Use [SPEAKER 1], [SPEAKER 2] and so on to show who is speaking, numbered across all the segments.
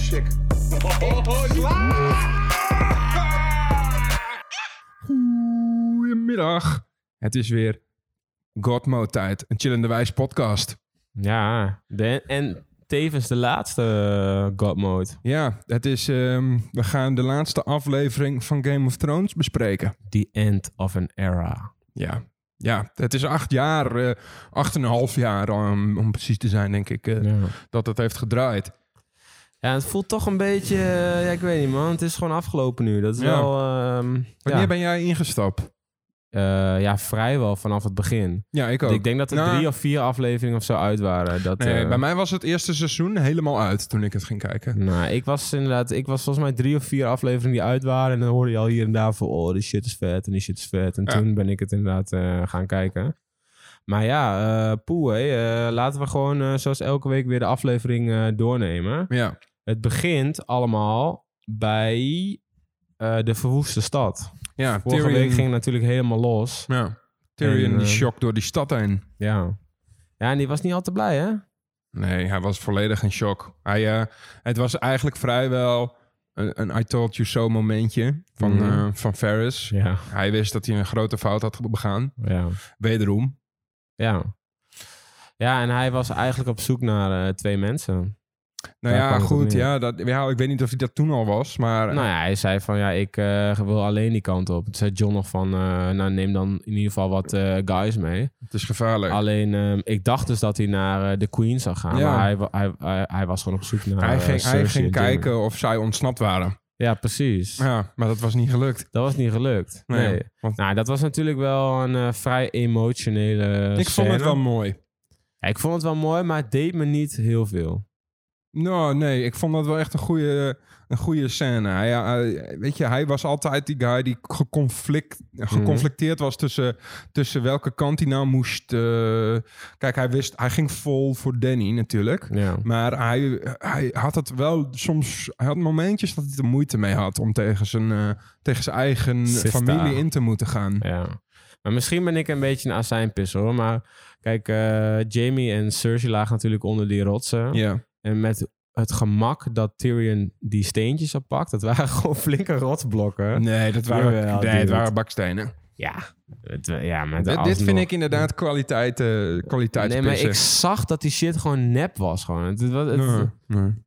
[SPEAKER 1] chick.
[SPEAKER 2] Goedemiddag. Het is weer Godmode tijd. Een chillende wijs podcast.
[SPEAKER 3] Ja, de- en tevens de laatste eh, God Mode.
[SPEAKER 2] Ja, het is, ehm, we gaan de laatste aflevering van Game of Thrones bespreken.
[SPEAKER 3] The end of an era.
[SPEAKER 2] Ja, ja het is acht jaar, eh, acht en een half jaar om, om precies te zijn, denk ik, eh,
[SPEAKER 3] Ja.
[SPEAKER 2] dat het heeft gedraaid.
[SPEAKER 3] ja, het voelt toch een beetje... eh, ja, ik weet niet, man. Het is gewoon afgelopen nu. Dat is
[SPEAKER 2] Ja.
[SPEAKER 3] wel... ehm,
[SPEAKER 2] Wanneer
[SPEAKER 3] ja.
[SPEAKER 2] ben jij ingestapt?
[SPEAKER 3] Eh, ja, vrijwel vanaf het begin.
[SPEAKER 2] Ja, ik ook.
[SPEAKER 3] Ik denk dat er
[SPEAKER 2] Nou,
[SPEAKER 3] drie of vier afleveringen of zo uit waren. Dat,
[SPEAKER 2] Nee,
[SPEAKER 3] eh,
[SPEAKER 2] bij mij was het eerste seizoen helemaal uit toen ik het ging kijken.
[SPEAKER 3] Nou, ik was inderdaad... Ik was volgens mij drie of vier afleveringen die uit waren. En dan hoorde je al hier en daar van... Oh, die shit is vet en die shit is vet. En
[SPEAKER 2] Ja.
[SPEAKER 3] toen ben ik het inderdaad eh, gaan kijken. Maar ja, eh poeh, hé, eh, laten we gewoon eh, zoals elke week weer de aflevering eh, doornemen.
[SPEAKER 2] Ja,
[SPEAKER 3] Het begint allemaal bij eh, de verwoeste stad.
[SPEAKER 2] ja
[SPEAKER 3] Vorige
[SPEAKER 2] Tyrion,
[SPEAKER 3] week ging het natuurlijk helemaal los.
[SPEAKER 2] ja, Tyrion
[SPEAKER 3] En, eh,
[SPEAKER 2] die shock door die stad heen.
[SPEAKER 3] Ja. Ja, en die was niet al te blij, hè?
[SPEAKER 2] Nee, hij was volledig in shock. Hij, eh, het was eigenlijk vrijwel een, een I told you so momentje van,
[SPEAKER 3] Mhm.
[SPEAKER 2] eh, van Ferris.
[SPEAKER 3] Ja.
[SPEAKER 2] Hij wist dat hij een grote fout had begaan.
[SPEAKER 3] Ja.
[SPEAKER 2] Wederom.
[SPEAKER 3] Ja. Ja, en hij was eigenlijk op zoek naar eh, twee mensen.
[SPEAKER 2] Nou
[SPEAKER 3] Daar
[SPEAKER 2] ja,
[SPEAKER 3] kwam het op
[SPEAKER 2] goed.
[SPEAKER 3] neer.
[SPEAKER 2] Ja, dat, ja, ik weet niet of hij dat toen al was, maar...
[SPEAKER 3] Nou ja, hij zei van ja, ik eh, wil alleen die kant op. Toen zei John nog van, eh, nou neem dan in ieder geval wat eh, guys mee.
[SPEAKER 2] Het is gevaarlijk.
[SPEAKER 3] Alleen, ehm, ik dacht dus dat hij naar eh, de Queen zou gaan.
[SPEAKER 2] Ja.
[SPEAKER 3] Maar hij, wa- hij, hij, hij was gewoon op zoek naar
[SPEAKER 2] hij
[SPEAKER 3] eh,
[SPEAKER 2] ging, hij
[SPEAKER 3] Cersei
[SPEAKER 2] ging
[SPEAKER 3] en Jaime.
[SPEAKER 2] kijken of zij ontsnapt waren.
[SPEAKER 3] Ja, precies.
[SPEAKER 2] Ja, maar dat was niet gelukt.
[SPEAKER 3] Dat was niet gelukt. Nee.
[SPEAKER 2] Nee, want-
[SPEAKER 3] Nou, dat was natuurlijk wel een eh, vrij emotionele
[SPEAKER 2] ik vond het
[SPEAKER 3] Nou, scène.
[SPEAKER 2] wel mooi.
[SPEAKER 3] Ja, ik vond het wel mooi, maar het deed me niet heel veel.
[SPEAKER 2] Nou, nee, ik vond dat wel echt een goede, een goede scène. Hij, hij- weet je, hij was altijd die guy die geconflict,
[SPEAKER 3] Mhm.
[SPEAKER 2] geconflicteerd was tussen, tussen welke kant hij nou moest. eh, kijk, hij wist, hij ging vol voor Danny natuurlijk.
[SPEAKER 3] Ja.
[SPEAKER 2] Maar hij, hij had het wel soms. Hij had momentjes dat hij er moeite mee had om tegen zijn, eh, tegen zijn eigen
[SPEAKER 3] Sister.
[SPEAKER 2] familie in te moeten gaan.
[SPEAKER 3] ja. Maar misschien ben ik een beetje een azijnpisser hoor. Maar kijk, Jamie en Cersei lagen natuurlijk onder die rotsen.
[SPEAKER 2] Ja.
[SPEAKER 3] En met het gemak dat Tyrion die steentjes oppakt, dat waren gewoon flinke rotsblokken.
[SPEAKER 2] Nee, dat waren,
[SPEAKER 3] Jawel,
[SPEAKER 2] nee, het
[SPEAKER 3] dude.
[SPEAKER 2] waren bakstenen.
[SPEAKER 3] Ja. Het, eh, ja, maar
[SPEAKER 2] Dit, dit vind ik inderdaad kwaliteit. eh kwaliteit
[SPEAKER 3] Nee, maar ik zag dat die shit gewoon nep was. Gewoon. Het, het, het-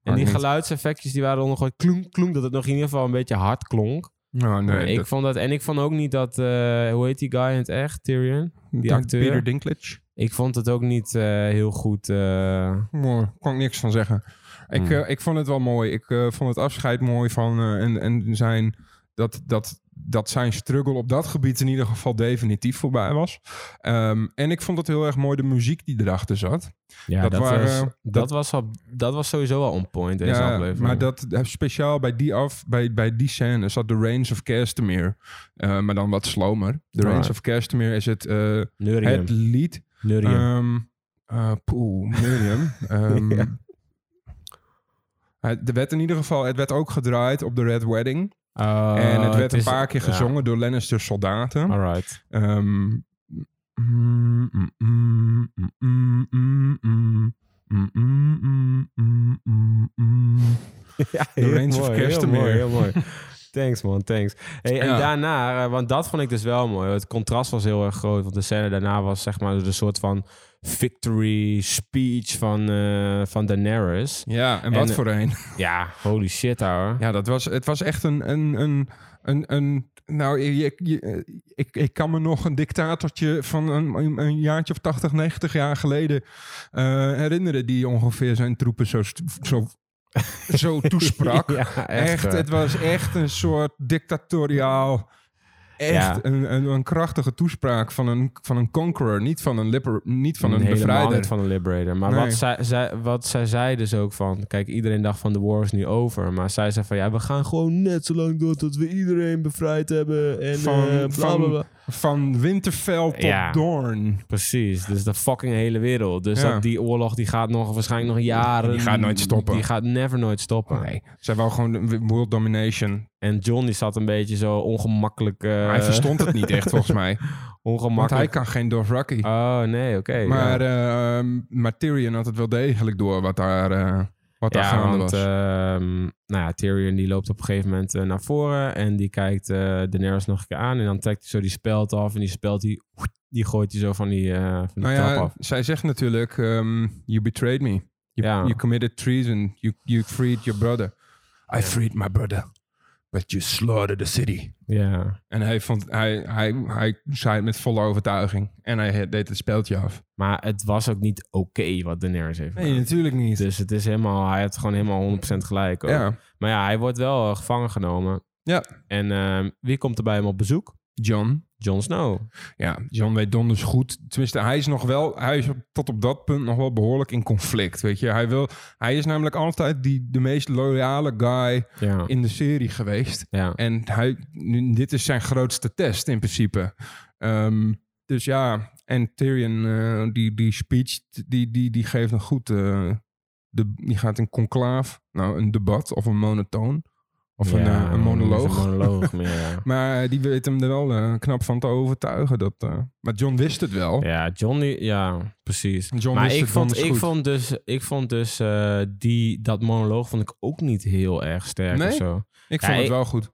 [SPEAKER 3] En die geluidseffectjes die waren dan nog gewoon klonk, klonk. Dat het nog in ieder geval een beetje hard klonk. Maar
[SPEAKER 2] Nou, nee,
[SPEAKER 3] ik
[SPEAKER 2] dat-
[SPEAKER 3] vond dat, en ik vond ook niet dat... eh, hoe heet die guy in het echt? Tyrion? die acteur.
[SPEAKER 2] Peter Dinklage.
[SPEAKER 3] Ik vond het ook niet eh, heel goed... eh,
[SPEAKER 2] Mooi, kan ik niks van zeggen. Ik,
[SPEAKER 3] Hmm.
[SPEAKER 2] eh, ik vond het wel mooi. Ik eh, vond het afscheid mooi van eh, en, en zijn dat, dat, dat zijn struggle op dat gebied in ieder geval definitief voorbij was. Ehm, en ik vond het heel erg mooi de muziek die erachter zat.
[SPEAKER 3] ja,
[SPEAKER 2] Dat
[SPEAKER 3] dat,
[SPEAKER 2] waren-
[SPEAKER 3] was,
[SPEAKER 2] dat-
[SPEAKER 3] dat, was al, dat was sowieso al on point deze aflevering.
[SPEAKER 2] maar dat eh, speciaal bij die af, bij, bij die scène zat de Range of Castamere, Eh, maar dan wat slomer. De Range
[SPEAKER 3] Right.
[SPEAKER 2] of Castamere is het, eh,
[SPEAKER 3] Neurium.
[SPEAKER 2] het lied
[SPEAKER 3] Neurium.
[SPEAKER 2] Ehm eh, poeh, Miriam. Ehm,
[SPEAKER 3] Ja.
[SPEAKER 2] het- er werd in ieder geval, het werd ook gedraaid op de Red Wedding.
[SPEAKER 3] Oh,
[SPEAKER 2] en het werd
[SPEAKER 3] is-
[SPEAKER 2] een paar keer
[SPEAKER 3] ja.
[SPEAKER 2] gezongen door Lannister soldaten.
[SPEAKER 3] Alright.
[SPEAKER 2] Ehm, mm, mm, mm, mm, mm, mm, mm, mm, mm, mm, mm, mm.
[SPEAKER 3] Ja,
[SPEAKER 2] De
[SPEAKER 3] heel
[SPEAKER 2] Range of
[SPEAKER 3] mooi, heel
[SPEAKER 2] Kerstemeer.
[SPEAKER 3] mooi, heel mooi. Thanks man, thanks. Hey, en
[SPEAKER 2] Ja.
[SPEAKER 3] daarna, eh, want dat vond ik dus wel mooi. Het contrast was heel erg groot. Want de scène daarna was zeg maar een soort van victory speech van, eh, van Daenerys.
[SPEAKER 2] Ja, en wat
[SPEAKER 3] En-
[SPEAKER 2] voor een.
[SPEAKER 3] Ja, holy shit hoor.
[SPEAKER 2] Ja, dat was, het was echt een. een, een, een, een nou, je, je- ik, ik kan me nog een dictatortje van een, een- een jaartje of 80, 90 jaar geleden eh, herinneren. die ongeveer zijn troepen zo, st- zo, zo toesprak.
[SPEAKER 3] Ja,
[SPEAKER 2] echt,
[SPEAKER 3] echt. eh.
[SPEAKER 2] het was echt een soort dictatoriaal. Echt
[SPEAKER 3] Ja.
[SPEAKER 2] een, een, een krachtige toespraak van een, van een conqueror, niet van een, lipper, niet van een
[SPEAKER 3] Helemaal
[SPEAKER 2] bevrijder.
[SPEAKER 3] niet van een liberator. Maar
[SPEAKER 2] Nee.
[SPEAKER 3] wat, zij, zij, wat zij zei dus ook van... Kijk, iedereen dacht van de war is nu over. Maar zij zei van... Ja, we gaan gewoon net zo lang door tot we iedereen bevrijd hebben. En
[SPEAKER 2] Van-
[SPEAKER 3] van, bla,
[SPEAKER 2] van-
[SPEAKER 3] bla, bla.
[SPEAKER 2] Van Winterfell tot
[SPEAKER 3] Ja.
[SPEAKER 2] Doorn.
[SPEAKER 3] Precies, dus de fucking hele wereld. Dus
[SPEAKER 2] Ja.
[SPEAKER 3] dat, die oorlog die gaat nog waarschijnlijk nog jaren.
[SPEAKER 2] Die gaat nooit stoppen.
[SPEAKER 3] Die gaat never nooit stoppen.
[SPEAKER 2] Nee, zij wou gewoon de world domination.
[SPEAKER 3] En John die zat een beetje zo ongemakkelijk. eh,
[SPEAKER 2] hij verstond het niet echt, volgens mij. Want hij
[SPEAKER 3] Ongemakkelijk.
[SPEAKER 2] kan geen Dothraki.
[SPEAKER 3] Oh nee, oké. ja.
[SPEAKER 2] maar, ehm maar Tyrion had het wel degelijk door wat daar... eh, Wat daar
[SPEAKER 3] Ja,
[SPEAKER 2] gaande
[SPEAKER 3] want
[SPEAKER 2] was.
[SPEAKER 3] ehm, nou ja, Tyrion die loopt op een gegeven moment eh, naar voren en die kijkt eh Daenerys nog een keer aan en dan trekt hij zo die speld af en die speld die, die gooit hij zo van die, eh van die
[SPEAKER 2] nou
[SPEAKER 3] trap
[SPEAKER 2] ja,
[SPEAKER 3] af.
[SPEAKER 2] zij zegt natuurlijk, ehm, you betrayed me. You,
[SPEAKER 3] Ja.
[SPEAKER 2] you committed treason. You, you freed your brother. I
[SPEAKER 3] Ja.
[SPEAKER 2] freed my brother. But you slaughtered the city.
[SPEAKER 3] Ja,
[SPEAKER 2] En hij, vond, hij, hij, hij zei het met volle overtuiging. En hij deed het speeltje af.
[SPEAKER 3] maar het was ook niet oké wat Daenerys heeft gedaan.
[SPEAKER 2] natuurlijk niet.
[SPEAKER 3] Dus het is helemaal, hij heeft gewoon helemaal 100% gelijk. ook.
[SPEAKER 2] Ja,
[SPEAKER 3] Maar ja, hij wordt wel eh, gevangen genomen.
[SPEAKER 2] Ja.
[SPEAKER 3] En ehm, wie komt er bij hem op bezoek?
[SPEAKER 2] John.
[SPEAKER 3] Jon Snow.
[SPEAKER 2] Ja, John weet donders goed. Tenminste, hij is nog wel, hij is op- tot op dat punt nog wel behoorlijk in conflict. Weet je, hij, wil, hij is namelijk altijd die, de meest loyale guy
[SPEAKER 3] Ja.
[SPEAKER 2] in de serie geweest.
[SPEAKER 3] ja.
[SPEAKER 2] En hij, nu, dit is zijn grootste test in principe. Ehm, dus ja, en Tyrion, eh, die, die speech, die, die, die geeft een goed. eh, de, die gaat in conclaaf, nou, een debat of een monotoon. Of een,
[SPEAKER 3] Ja,
[SPEAKER 2] eh, een monoloog.
[SPEAKER 3] Een monoloog meer, ja.
[SPEAKER 2] Maar eh, die weet hem er wel eh, knap van te overtuigen. Dat, eh, maar John wist het wel.
[SPEAKER 3] Ja, John, die- ja, precies.
[SPEAKER 2] John
[SPEAKER 3] maar
[SPEAKER 2] wist
[SPEAKER 3] ik
[SPEAKER 2] het
[SPEAKER 3] vond,
[SPEAKER 2] donders
[SPEAKER 3] ik
[SPEAKER 2] goed.
[SPEAKER 3] vond dus, ik vond dus eh, die, dat monoloog vond ik ook niet heel erg sterk
[SPEAKER 2] Nee?
[SPEAKER 3] of zo.
[SPEAKER 2] Ik
[SPEAKER 3] Ja,
[SPEAKER 2] vond het
[SPEAKER 3] ik-
[SPEAKER 2] wel goed.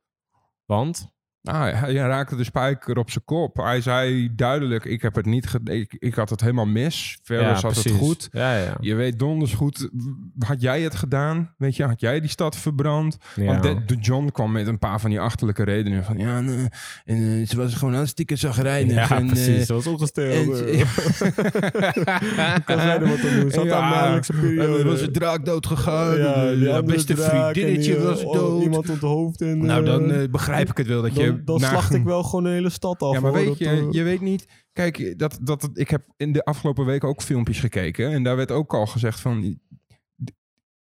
[SPEAKER 3] Want,
[SPEAKER 2] Ah, hij hij raakte de spijker op zijn kop. Hij zei duidelijk, ik, heb het niet ge- ik, ik had het helemaal mis. Verder
[SPEAKER 3] ja,
[SPEAKER 2] zat
[SPEAKER 3] precies.
[SPEAKER 2] het goed.
[SPEAKER 3] Ja, ja.
[SPEAKER 2] Je weet donders goed, had jij het gedaan? Weet je, had jij die stad verbrand?
[SPEAKER 3] ja.
[SPEAKER 2] Want de, de John kwam met een paar van die achterlijke redenen. Van ja, nee, en, eh, ze was gewoon hartstikke zagrijnig.
[SPEAKER 3] Ja,
[SPEAKER 2] en, eh,
[SPEAKER 3] precies. Dat was
[SPEAKER 2] en,
[SPEAKER 3] opgesteld.
[SPEAKER 2] ze-
[SPEAKER 3] Ik kan zij er wat aan doen. Ze had
[SPEAKER 2] Ja,
[SPEAKER 3] haar maandelijkse periode.
[SPEAKER 2] Er was een draak doodgegaan.
[SPEAKER 3] eh, Ja,
[SPEAKER 2] gegaan.
[SPEAKER 3] Oh, die
[SPEAKER 2] Ja,
[SPEAKER 3] andere
[SPEAKER 2] beste
[SPEAKER 3] draak en
[SPEAKER 2] vriendinnetje
[SPEAKER 3] die, eh,
[SPEAKER 2] was
[SPEAKER 3] oh,
[SPEAKER 2] dood.
[SPEAKER 3] Iemand onthoofd en...
[SPEAKER 2] nou, dan
[SPEAKER 3] eh,
[SPEAKER 2] eh, begrijp ik het wel. Dat
[SPEAKER 3] dan,
[SPEAKER 2] je
[SPEAKER 3] dan
[SPEAKER 2] na-
[SPEAKER 3] slacht ik wel gewoon een hele stad af.
[SPEAKER 2] Ja, maar
[SPEAKER 3] hoor.
[SPEAKER 2] weet
[SPEAKER 3] Dat,
[SPEAKER 2] je,
[SPEAKER 3] eh,
[SPEAKER 2] je weet niet. Kijk, dat, dat, ik heb in de afgelopen week ook filmpjes gekeken. En daar werd ook al gezegd van. D-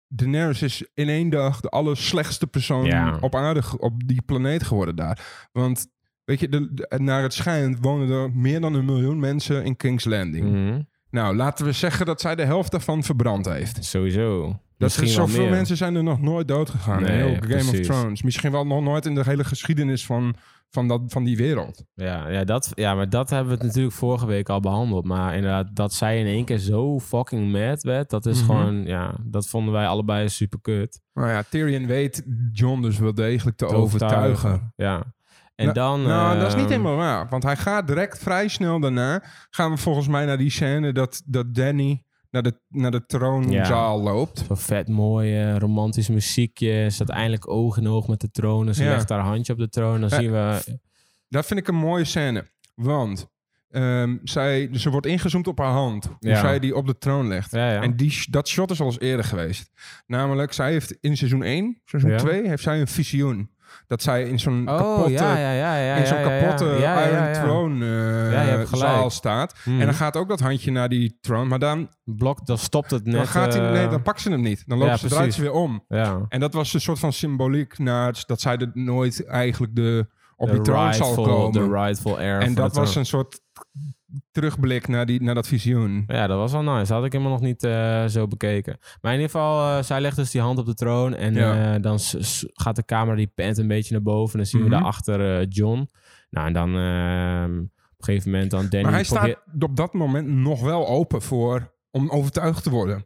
[SPEAKER 2] Daenerys is in één dag de allerslechtste persoon
[SPEAKER 3] Ja.
[SPEAKER 2] op aarde, ge- op die planeet geworden daar. Want, weet je, de- de- naar het schijnt wonen er meer dan een miljoen mensen in King's Landing.
[SPEAKER 3] mhm,
[SPEAKER 2] Nou, laten we zeggen dat zij de helft daarvan verbrand heeft.
[SPEAKER 3] Sowieso.
[SPEAKER 2] Dat
[SPEAKER 3] Misschien
[SPEAKER 2] is
[SPEAKER 3] wel
[SPEAKER 2] zoveel
[SPEAKER 3] meer.
[SPEAKER 2] mensen zijn er nog nooit dood gegaan. in
[SPEAKER 3] Nee,
[SPEAKER 2] heel Game of
[SPEAKER 3] precies.
[SPEAKER 2] Thrones. Misschien wel nog nooit in de hele geschiedenis van, van, dat, van die wereld.
[SPEAKER 3] Ja, ja, dat, ja, maar dat hebben we het natuurlijk vorige week al behandeld. Maar inderdaad, dat zij in één keer zo fucking mad werd, dat is
[SPEAKER 2] Mhm.
[SPEAKER 3] gewoon, ja, dat vonden wij allebei super kut.
[SPEAKER 2] Nou ja, Tyrion weet John dus wel degelijk te,
[SPEAKER 3] Te
[SPEAKER 2] overtuigen.
[SPEAKER 3] Ja. En
[SPEAKER 2] Nou-
[SPEAKER 3] dan.
[SPEAKER 2] Nou, dat is niet
[SPEAKER 3] ehm,
[SPEAKER 2] helemaal waar. Want hij gaat direct vrij snel daarna... gaan we volgens mij naar die scène dat, dat Danny naar de, naar de troonzaal loopt.
[SPEAKER 3] Zo'n vet mooie romantisch muziekje. Ze Staat eindelijk oog in oog met de troon. En ze
[SPEAKER 2] Ja.
[SPEAKER 3] legt haar handje op de troon. Dan
[SPEAKER 2] Eh,
[SPEAKER 3] zien we.
[SPEAKER 2] Dat vind ik een mooie scène. Want ehm, zij, ze wordt ingezoomd op haar hand. Hoe
[SPEAKER 3] Ja.
[SPEAKER 2] zij die op de troon legt.
[SPEAKER 3] Ja, ja.
[SPEAKER 2] En die, sh- dat shot is al eens eerder geweest. Namelijk, zij heeft in seizoen 1, seizoen
[SPEAKER 3] Ja.
[SPEAKER 2] 2... heeft zij een visioen. Dat zij in zo'n
[SPEAKER 3] oh,
[SPEAKER 2] kapotte...
[SPEAKER 3] ja, ja, ja, ja.
[SPEAKER 2] in zo'n
[SPEAKER 3] ja, ja, ja.
[SPEAKER 2] kapotte
[SPEAKER 3] Ja, ja,
[SPEAKER 2] Iron
[SPEAKER 3] ja.
[SPEAKER 2] Throne eh,
[SPEAKER 3] Ja, je hebt gelijk.
[SPEAKER 2] zaal staat.
[SPEAKER 3] Mhm.
[SPEAKER 2] En dan gaat ook dat handje naar die troon, maar dan,
[SPEAKER 3] Blok, dan stopt het net.
[SPEAKER 2] dan, gaat hij,
[SPEAKER 3] eh,
[SPEAKER 2] nee, dan pakt ze hem niet. Dan loopt
[SPEAKER 3] ja,
[SPEAKER 2] ze, draait
[SPEAKER 3] precies.
[SPEAKER 2] ze weer om.
[SPEAKER 3] Ja.
[SPEAKER 2] En dat was een soort van symboliek naar het- dat zij er nooit eigenlijk de, op
[SPEAKER 3] De
[SPEAKER 2] die troon zal
[SPEAKER 3] rightful-
[SPEAKER 2] komen.
[SPEAKER 3] De rightful heir.
[SPEAKER 2] en
[SPEAKER 3] van de
[SPEAKER 2] dat was
[SPEAKER 3] troon.
[SPEAKER 2] een soort terugblik naar, die, naar dat visioen.
[SPEAKER 3] Ja, dat was wel nice. Dat had ik helemaal nog niet eh, zo bekeken. Maar in ieder geval, eh, zij legt dus die hand op de troon. En
[SPEAKER 2] Ja.
[SPEAKER 3] eh, dan s- s- gaat de camera die pent een beetje naar boven. En dan zien
[SPEAKER 2] Mhm.
[SPEAKER 3] we daarachter eh, John. Nou, en dan ehm, op een gegeven moment dan Danny.
[SPEAKER 2] Maar hij
[SPEAKER 3] probeert-
[SPEAKER 2] staat op dat moment nog wel open voor om overtuigd te worden.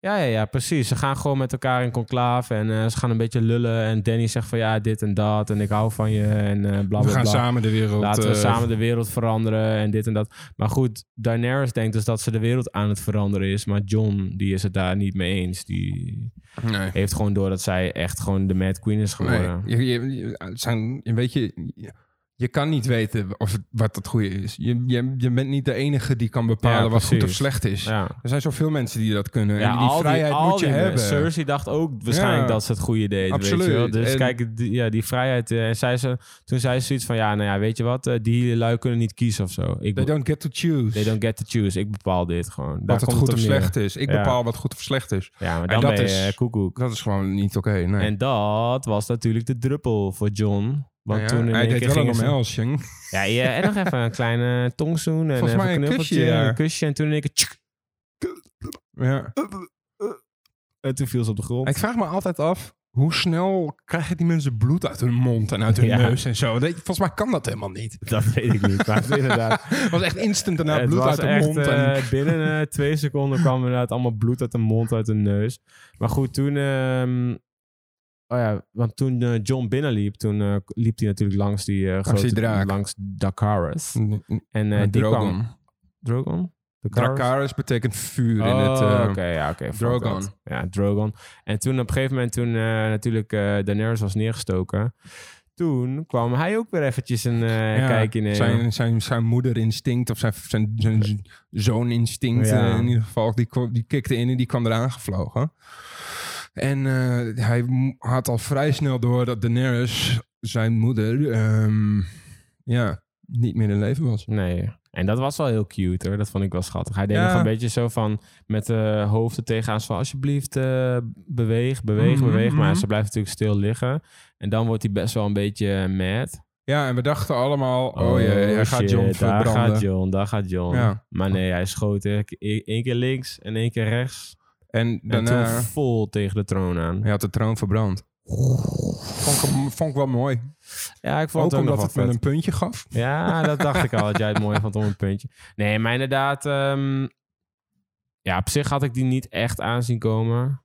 [SPEAKER 3] Ja, ja, ja, precies. Ze gaan gewoon met elkaar in conclave. En eh, ze gaan een beetje lullen. En Danny zegt van ja, dit en dat. En ik hou van je. En eh bla bla
[SPEAKER 2] We gaan
[SPEAKER 3] bla.
[SPEAKER 2] samen de wereld...
[SPEAKER 3] Laten we
[SPEAKER 2] eh,
[SPEAKER 3] samen de wereld veranderen en dit en dat. Maar goed, Daenerys denkt dus dat ze de wereld aan het veranderen is. Maar John, die is het daar niet mee eens. Die
[SPEAKER 2] Nee.
[SPEAKER 3] heeft gewoon door dat zij echt gewoon de Mad Queen is geworden.
[SPEAKER 2] Nee, je, je, je- het zijn, je weet je, je- je kan niet weten of het, wat het goede is. Je, je, je bent niet de enige die kan bepalen
[SPEAKER 3] Ja,
[SPEAKER 2] wat goed of
[SPEAKER 3] precies.
[SPEAKER 2] slecht is.
[SPEAKER 3] Ja.
[SPEAKER 2] Er zijn zoveel mensen die dat kunnen.
[SPEAKER 3] Ja,
[SPEAKER 2] en die
[SPEAKER 3] al
[SPEAKER 2] vrijheid
[SPEAKER 3] al
[SPEAKER 2] moet je
[SPEAKER 3] die mensen.
[SPEAKER 2] hebben.
[SPEAKER 3] Cersei dacht ook waarschijnlijk
[SPEAKER 2] Ja.
[SPEAKER 3] dat ze het goede deed. Weet
[SPEAKER 2] Absoluut.
[SPEAKER 3] je wel? Dus
[SPEAKER 2] En-
[SPEAKER 3] kijk, die, ja, die vrijheid. eh, En zij ze, toen zei ze zoiets van, ja, nou ja, weet je wat? eh, die lui kunnen niet kiezen of zo. Ik,
[SPEAKER 2] They
[SPEAKER 3] be-
[SPEAKER 2] don't get to choose
[SPEAKER 3] they don't get to choose. Ik bepaal dit gewoon. Daar
[SPEAKER 2] wat het
[SPEAKER 3] komt
[SPEAKER 2] goed
[SPEAKER 3] op
[SPEAKER 2] of
[SPEAKER 3] neer.
[SPEAKER 2] slecht is. Ik
[SPEAKER 3] Ja.
[SPEAKER 2] bepaal wat goed of slecht is.
[SPEAKER 3] Ja, maar
[SPEAKER 2] En
[SPEAKER 3] dan
[SPEAKER 2] dat
[SPEAKER 3] ben je
[SPEAKER 2] is-
[SPEAKER 3] eh, koekoek.
[SPEAKER 2] Dat is gewoon niet oké. nee.
[SPEAKER 3] En dat was natuurlijk de druppel voor John. Want
[SPEAKER 2] Nou ja,
[SPEAKER 3] toen in
[SPEAKER 2] hij
[SPEAKER 3] één
[SPEAKER 2] deed
[SPEAKER 3] keer
[SPEAKER 2] wel een
[SPEAKER 3] gingen ze...
[SPEAKER 2] omhelzing.
[SPEAKER 3] Ja, ja, en nog even een kleine tongzoen en
[SPEAKER 2] Volgens
[SPEAKER 3] even
[SPEAKER 2] mij een
[SPEAKER 3] knuffeltje
[SPEAKER 2] kusje, ja.
[SPEAKER 3] en een kusje. En toen in één keer... tsk,
[SPEAKER 2] Ja.
[SPEAKER 3] en toen viel ze op de grond.
[SPEAKER 2] Ik vraag me altijd af hoe snel krijgen die mensen bloed uit hun mond en uit hun
[SPEAKER 3] Ja.
[SPEAKER 2] neus en zo? Dat- volgens mij kan dat helemaal niet.
[SPEAKER 3] Dat weet ik niet. Maar het is inderdaad.
[SPEAKER 2] Het was echt instant daarna
[SPEAKER 3] het
[SPEAKER 2] Nou, bloed
[SPEAKER 3] was
[SPEAKER 2] uit de
[SPEAKER 3] echt,
[SPEAKER 2] mond. en,
[SPEAKER 3] eh, binnen eh, twee seconden kwam inderdaad allemaal bloed uit de mond, uit de neus. Maar goed, toen. ehm, oh ja, want toen eh, John binnenliep, toen eh, liep hij natuurlijk langs die eh, grote.
[SPEAKER 2] die draak. Hm.
[SPEAKER 3] Langs Dakaris. En eh,
[SPEAKER 2] Met
[SPEAKER 3] die
[SPEAKER 2] Drogon.
[SPEAKER 3] kwam. Drogon? Dakaris?
[SPEAKER 2] Dracarys betekent vuur in
[SPEAKER 3] Oh,
[SPEAKER 2] het... eh,
[SPEAKER 3] oké, ja, oké. fuck
[SPEAKER 2] Drogon.
[SPEAKER 3] dat. Ja, Drogon. En toen op een gegeven moment, toen eh, natuurlijk eh Daenerys was neergestoken. Toen kwam hij ook weer eventjes een eh,
[SPEAKER 2] ja,
[SPEAKER 3] kijkje nemen.
[SPEAKER 2] zijn, zijn, zijn moederinstinct of zijn, zijn, zijn z- zooninstinct
[SPEAKER 3] Ja.
[SPEAKER 2] eh, in ieder geval, die, kwam- die kikte in en die kwam eraan gevlogen. En eh, hij m- had al vrij snel door dat Daenerys, zijn moeder, ehm, ja, niet meer in leven was.
[SPEAKER 3] Nee. En dat was wel heel cute hoor. Dat vond ik wel schattig. Hij deed
[SPEAKER 2] Ja.
[SPEAKER 3] nog een beetje zo van met de hoofden tegenaan. Zo van, alsjeblieft eh, beweeg, beweeg,
[SPEAKER 2] Mhm,
[SPEAKER 3] beweeg.
[SPEAKER 2] mhm.
[SPEAKER 3] Maar ze blijft natuurlijk stil liggen. En dan wordt hij best wel een beetje mad.
[SPEAKER 2] Ja, en we dachten allemaal, oh, jee, hij gaat
[SPEAKER 3] shit,
[SPEAKER 2] John
[SPEAKER 3] Daar gaat
[SPEAKER 2] verbranden.
[SPEAKER 3] John, daar gaat John.
[SPEAKER 2] Ja.
[SPEAKER 3] Maar nee, hij schoot één één keer links en één keer rechts.
[SPEAKER 2] En eh,
[SPEAKER 3] En toen
[SPEAKER 2] daarna,
[SPEAKER 3] vol tegen de troon aan.
[SPEAKER 2] hij had de troon verbrand. Vond ik, hem- vond ik wel mooi.
[SPEAKER 3] Ja, ik vond
[SPEAKER 2] Ook
[SPEAKER 3] het ook
[SPEAKER 2] omdat
[SPEAKER 3] nog
[SPEAKER 2] het
[SPEAKER 3] wel
[SPEAKER 2] me
[SPEAKER 3] vet.
[SPEAKER 2] een puntje gaf.
[SPEAKER 3] Ja, dat dacht ik al. Dat jij het mooi vond om een puntje. Nee, maar inderdaad. ehm, ja, op zich had ik die niet echt aanzien komen.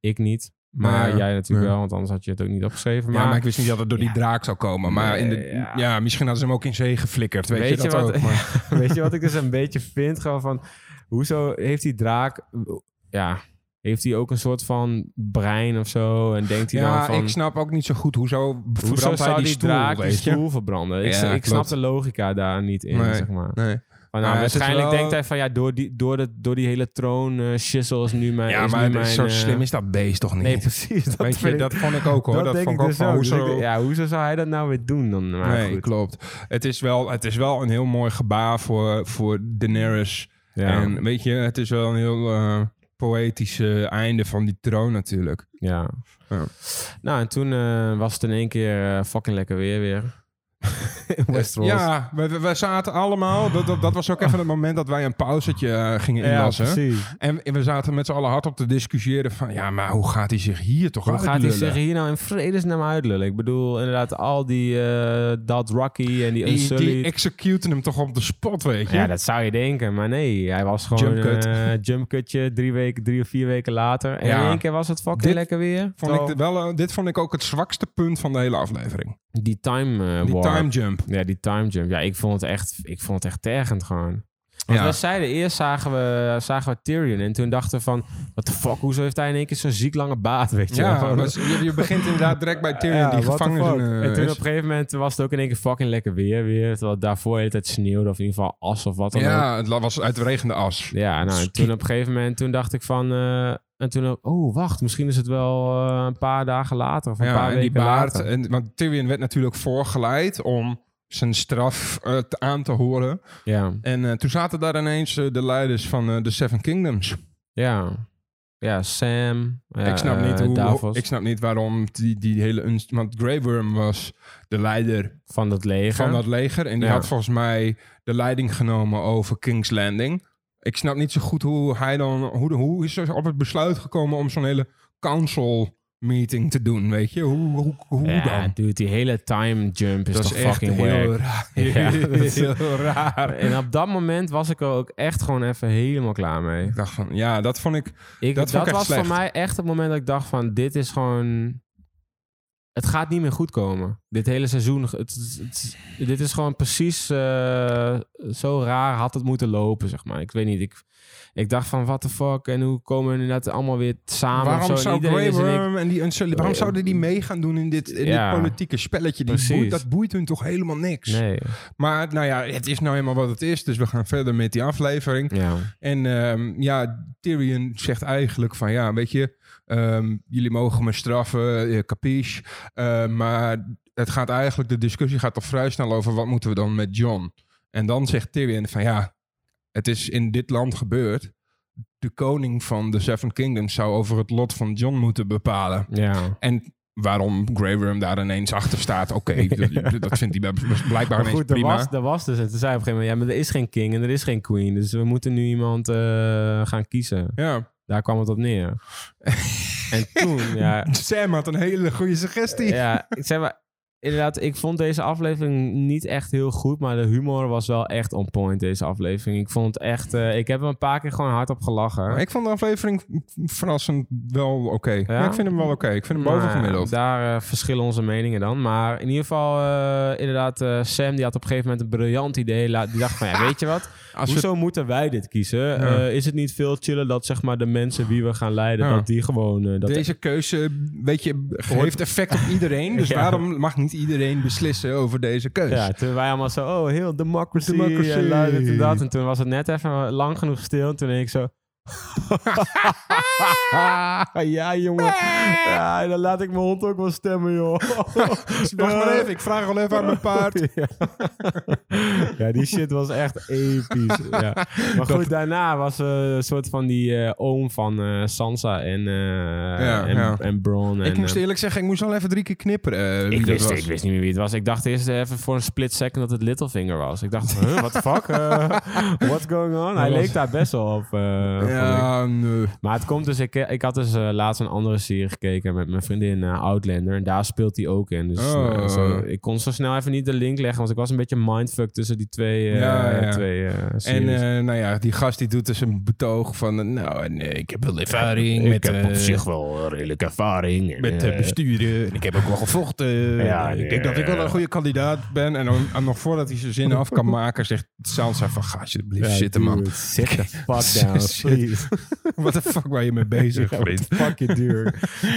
[SPEAKER 3] Ik niet. Maar
[SPEAKER 2] Nee,
[SPEAKER 3] jij natuurlijk
[SPEAKER 2] nee.
[SPEAKER 3] wel, want anders had je het ook niet opgeschreven. Maar,
[SPEAKER 2] Ja, maar ik wist niet dat het door die
[SPEAKER 3] Ja.
[SPEAKER 2] draak zou komen. Maar
[SPEAKER 3] Nee,
[SPEAKER 2] in de,
[SPEAKER 3] ja.
[SPEAKER 2] ja. misschien hadden ze hem ook in zee geflikkerd. Weet,
[SPEAKER 3] Weet
[SPEAKER 2] je
[SPEAKER 3] je
[SPEAKER 2] dat
[SPEAKER 3] wat-
[SPEAKER 2] ook? Maar,
[SPEAKER 3] weet je wat ik dus een beetje vind? Gewoon van, hoezo heeft die draak... Ja, heeft hij ook een soort van brein of zo? En denkt hij dan
[SPEAKER 2] ja,
[SPEAKER 3] van...
[SPEAKER 2] ik snap ook niet zo goed hoezo
[SPEAKER 3] Hoezo
[SPEAKER 2] verbrandt hij
[SPEAKER 3] zou
[SPEAKER 2] die
[SPEAKER 3] die,
[SPEAKER 2] stoel,
[SPEAKER 3] draak die
[SPEAKER 2] weet je?
[SPEAKER 3] stoel verbranden? Ik,
[SPEAKER 2] Ja,
[SPEAKER 3] ik snap
[SPEAKER 2] klopt.
[SPEAKER 3] de logica daar niet in,
[SPEAKER 2] Nee.
[SPEAKER 3] zeg maar.
[SPEAKER 2] Nee.
[SPEAKER 3] Maar
[SPEAKER 2] Maar
[SPEAKER 3] nou,
[SPEAKER 2] het is
[SPEAKER 3] waarschijnlijk
[SPEAKER 2] wel-
[SPEAKER 3] denkt hij van ja, door die, door de, door die hele troon eh shizzle is nu mijn.
[SPEAKER 2] Ja,
[SPEAKER 3] is
[SPEAKER 2] maar
[SPEAKER 3] nu mijn,
[SPEAKER 2] zo
[SPEAKER 3] eh,
[SPEAKER 2] slim is dat beest toch niet?
[SPEAKER 3] Nee, precies. Dat
[SPEAKER 2] weet
[SPEAKER 3] vind
[SPEAKER 2] je,
[SPEAKER 3] ik-
[SPEAKER 2] dat vond ik ook hoor. Dat,
[SPEAKER 3] denk
[SPEAKER 2] vond ik
[SPEAKER 3] ik
[SPEAKER 2] ook
[SPEAKER 3] dus
[SPEAKER 2] van
[SPEAKER 3] ook. Dus
[SPEAKER 2] hoezo...
[SPEAKER 3] ik denk, ja, hoezo zou hij dat nou weer doen dan? Maar
[SPEAKER 2] nee,
[SPEAKER 3] goed.
[SPEAKER 2] klopt. Het is, wel, het is wel een heel mooi gebaar voor, voor Daenerys.
[SPEAKER 3] Ja,
[SPEAKER 2] En weet je, het is wel een heel eh poëtisch eh, einde van die troon natuurlijk.
[SPEAKER 3] ja.
[SPEAKER 2] Ja.
[SPEAKER 3] Nou, en toen eh, was het in één keer eh, fucking lekker weer weer. In Westeros.
[SPEAKER 2] Ja, we, we- we zaten allemaal... Dat, dat, dat was ook even het moment dat wij een pauzetje eh, gingen
[SPEAKER 3] ja
[SPEAKER 2] inlassen.
[SPEAKER 3] precies.
[SPEAKER 2] En we zaten met z'n allen hard op te discussiëren van... ja, maar hoe gaat hij zich hier toch
[SPEAKER 3] Hoe gaat hij
[SPEAKER 2] uitlullen?
[SPEAKER 3] zich hier nou in vredesnaam uitlullen? Ik bedoel, inderdaad, al die eh dat Rocky en die
[SPEAKER 2] Die,
[SPEAKER 3] Unsullied.
[SPEAKER 2] die executen hem toch op de spot, weet je?
[SPEAKER 3] Ja, dat zou je denken, maar nee, hij was gewoon
[SPEAKER 2] Jumpcut.
[SPEAKER 3] een jumpcutje drie, weken, drie of vier weken later. En in
[SPEAKER 2] Ja.
[SPEAKER 3] één keer was het fucking
[SPEAKER 2] Dit
[SPEAKER 3] lekker weer.
[SPEAKER 2] vond ik
[SPEAKER 3] Terwijl
[SPEAKER 2] de- wel, eh, dit vond ik ook het zwakste punt van de hele aflevering.
[SPEAKER 3] die time eh,
[SPEAKER 2] Die
[SPEAKER 3] warp.
[SPEAKER 2] time jump.
[SPEAKER 3] Ja, die time jump. Ja, ik vond het echt, ik vond het echt tergend gewoon. Want
[SPEAKER 2] Ja.
[SPEAKER 3] we zeiden, eerst zagen we, zagen we Tyrion en toen dachten we van, what the fuck, hoezo heeft hij in één keer zo'n ziek lange baat, weet je? wel?
[SPEAKER 2] Ja,
[SPEAKER 3] Gewoon-
[SPEAKER 2] maar je, je begint inderdaad direct bij Tyrion
[SPEAKER 3] Ja,
[SPEAKER 2] die
[SPEAKER 3] what the
[SPEAKER 2] gevangen
[SPEAKER 3] fuck.
[SPEAKER 2] eh,
[SPEAKER 3] En toen op
[SPEAKER 2] is.
[SPEAKER 3] een gegeven moment was het ook in één keer fucking lekker weer weer. Terwijl het daarvoor de hele tijd sneeuwde of in ieder geval as of wat dan ook.
[SPEAKER 2] Ja, het la- was uit regende as.
[SPEAKER 3] Ja, nou, en toen op een gegeven moment toen dacht ik van... eh, en toen, ook, oh, wacht, misschien is het wel eh, een paar dagen later of een paar
[SPEAKER 2] Ja, en
[SPEAKER 3] weken
[SPEAKER 2] die baard. eh,
[SPEAKER 3] later.
[SPEAKER 2] En, want Tyrion werd natuurlijk voorgeleid om zijn straf eh, te- aan te horen.
[SPEAKER 3] Ja,
[SPEAKER 2] En eh, toen zaten daar ineens eh, de leiders van eh, de Seven Kingdoms.
[SPEAKER 3] ja. Ja, Sam. ja,
[SPEAKER 2] ik, snap niet
[SPEAKER 3] eh,
[SPEAKER 2] hoe,
[SPEAKER 3] Davos
[SPEAKER 2] ik snap niet waarom die, die hele... unst- Want Grey Worm was de leider
[SPEAKER 3] van dat leger.
[SPEAKER 2] van dat leger. En die
[SPEAKER 3] Ja.
[SPEAKER 2] had volgens mij de leiding genomen over King's Landing. Ik snap niet zo goed hoe hij dan... Hoe, de- hoe is er op het besluit gekomen om zo'n hele council meeting te doen, weet je? Hoe, hoe, hoe
[SPEAKER 3] ja,
[SPEAKER 2] dan?
[SPEAKER 3] dude, die hele time jump is toch fucking
[SPEAKER 2] heel
[SPEAKER 3] wack.
[SPEAKER 2] raar.
[SPEAKER 3] Ja, dat is-
[SPEAKER 2] heel raar.
[SPEAKER 3] En op dat moment was ik er ook echt gewoon even helemaal klaar mee.
[SPEAKER 2] Ik dacht van, ja, dat vond ik...
[SPEAKER 3] Ik, dat
[SPEAKER 2] Dat vond ik echt
[SPEAKER 3] was voor
[SPEAKER 2] slecht.
[SPEAKER 3] mij echt het moment dat ik dacht van... Dit is gewoon... Het gaat niet meer goed komen. Dit hele seizoen. Het, het- het- dit is gewoon precies eh, zo raar had het moeten lopen, zeg maar. Ik weet niet. Ik, ik dacht van, what the fuck? En hoe komen we inderdaad allemaal weer samen? of zo?
[SPEAKER 2] waarom
[SPEAKER 3] En
[SPEAKER 2] zou
[SPEAKER 3] iedereen
[SPEAKER 2] Grey
[SPEAKER 3] is in één-
[SPEAKER 2] Worm en die Unsullied... Waarom zouden die mee gaan doen in dit, in
[SPEAKER 3] Ja.
[SPEAKER 2] dit politieke spelletje? Die
[SPEAKER 3] Precies.
[SPEAKER 2] boeit, dat boeit hun toch helemaal niks?
[SPEAKER 3] Nee,
[SPEAKER 2] Maar nou ja, het is nou helemaal wat het is. Dus we gaan verder met die aflevering.
[SPEAKER 3] ja.
[SPEAKER 2] En ehm, ja, Tyrion zegt eigenlijk van ja, weet je, ehm, jullie mogen me straffen, eh, capiche. Eh, maar het gaat eigenlijk, de discussie gaat toch vrij snel over wat moeten we dan met John. En dan zegt Tyrion van ja, het is in dit land gebeurd. De koning van de Seven Kingdoms zou over het lot van John moeten bepalen.
[SPEAKER 3] ja.
[SPEAKER 2] En waarom Grey Worm daar ineens achter staat, oké, dat, dat vindt hij blijkbaar
[SPEAKER 3] Maar
[SPEAKER 2] ineens
[SPEAKER 3] goed, er
[SPEAKER 2] prima.
[SPEAKER 3] was, er was dus... En toen zei hij op een gegeven moment... Ja, maar er is geen king en er is geen queen. Dus we moeten nu iemand eh, gaan kiezen.
[SPEAKER 2] Ja.
[SPEAKER 3] Daar kwam het op neer. En toen, ja,
[SPEAKER 2] Sam had een hele goede suggestie.
[SPEAKER 3] ja, ik zeg maar, inderdaad, ik vond deze aflevering niet echt heel goed, maar de humor was wel echt on point deze aflevering. Ik vond het echt, eh, ik heb er een paar keer gewoon hard op gelachen.
[SPEAKER 2] Maar ik vond de aflevering verrassend wel oké.
[SPEAKER 3] Ja?
[SPEAKER 2] Ja, ik vind hem wel oké. Ik vind hem bovengemiddeld.
[SPEAKER 3] Nou, daar eh, verschillen onze meningen dan. Maar in ieder geval, eh, inderdaad, eh, Sam die had op een gegeven moment een briljant idee. La- Die dacht van, ja, weet je wat?
[SPEAKER 2] Als we-
[SPEAKER 3] Hoezo moeten wij dit kiezen? Eh, is het niet veel chiller dat zeg maar de mensen wie we gaan leiden,
[SPEAKER 2] Ja.
[SPEAKER 3] dat die gewoon... eh, dat
[SPEAKER 2] Deze keuze, weet je, heeft effect op iedereen. Dus
[SPEAKER 3] Ja.
[SPEAKER 2] waarom mag niet iedereen beslissen over deze keuze? Dus
[SPEAKER 3] ja, toen wij allemaal zo, oh, heel democracy,
[SPEAKER 2] Democracy.
[SPEAKER 3] en lui dit en dat. En toen was het net even lang genoeg stil. En toen denk ik zo, ja jongen, ja, dan laat ik mijn hond ook wel stemmen, joh.
[SPEAKER 2] Wacht maar even, ik vraag al even aan mijn paard.
[SPEAKER 3] Ja. ja, die shit was echt episch. ja. Maar goed, daarna was eh, een soort van die eh, oom van eh, Sansa en, eh
[SPEAKER 2] Ja,
[SPEAKER 3] en,
[SPEAKER 2] ja.
[SPEAKER 3] en Bron.
[SPEAKER 2] Ik
[SPEAKER 3] en,
[SPEAKER 2] moest
[SPEAKER 3] eh,
[SPEAKER 2] eerlijk zeggen, ik moest al even drie keer knipperen. eh, wie
[SPEAKER 3] ik,
[SPEAKER 2] dat
[SPEAKER 3] wist,
[SPEAKER 2] was.
[SPEAKER 3] ik wist niet meer wie het was. Ik dacht eerst even voor een split second dat het Littlefinger was. Ik dacht, huh, what the fuck? Eh, what's going on? Hij
[SPEAKER 2] was-
[SPEAKER 3] leek daar best wel op. eh, vond ik.
[SPEAKER 2] Ja, nee.
[SPEAKER 3] Maar het komt dus, ik, ik had dus eh, laatst een andere serie gekeken met mijn vriendin eh, Outlander. En daar speelt hij ook in. Dus
[SPEAKER 2] Oh.
[SPEAKER 3] eh, zo- ik kon zo snel even niet de link leggen, want ik was een beetje mindfuck tussen die twee, eh,
[SPEAKER 2] Ja, ja.
[SPEAKER 3] twee eh,
[SPEAKER 2] En eh,
[SPEAKER 3] series.
[SPEAKER 2] nou ja, die gast die doet dus een betoog van... eh, Nou, nee, ik heb wel ervaring met, eh,
[SPEAKER 3] wel redelijk ervaring. En,
[SPEAKER 2] met eh,
[SPEAKER 3] eh,
[SPEAKER 2] besturen. En ik heb ook wel gevochten. Eh,
[SPEAKER 3] Ja,
[SPEAKER 2] ik
[SPEAKER 3] nee, eh,
[SPEAKER 2] denk dat ik wel
[SPEAKER 3] ja.
[SPEAKER 2] een goede kandidaat ben. En, dan- en nog voordat hij zijn zin af kan maken, zegt Sansa van... Ga alsjeblieft
[SPEAKER 3] ja,
[SPEAKER 2] zitten, man.
[SPEAKER 3] dude, Sit the fuck
[SPEAKER 2] Shit.
[SPEAKER 3] down, please.
[SPEAKER 2] What the fuck waar je mee bezig,
[SPEAKER 3] Ja,
[SPEAKER 2] vriend?
[SPEAKER 3] Fuck je duur.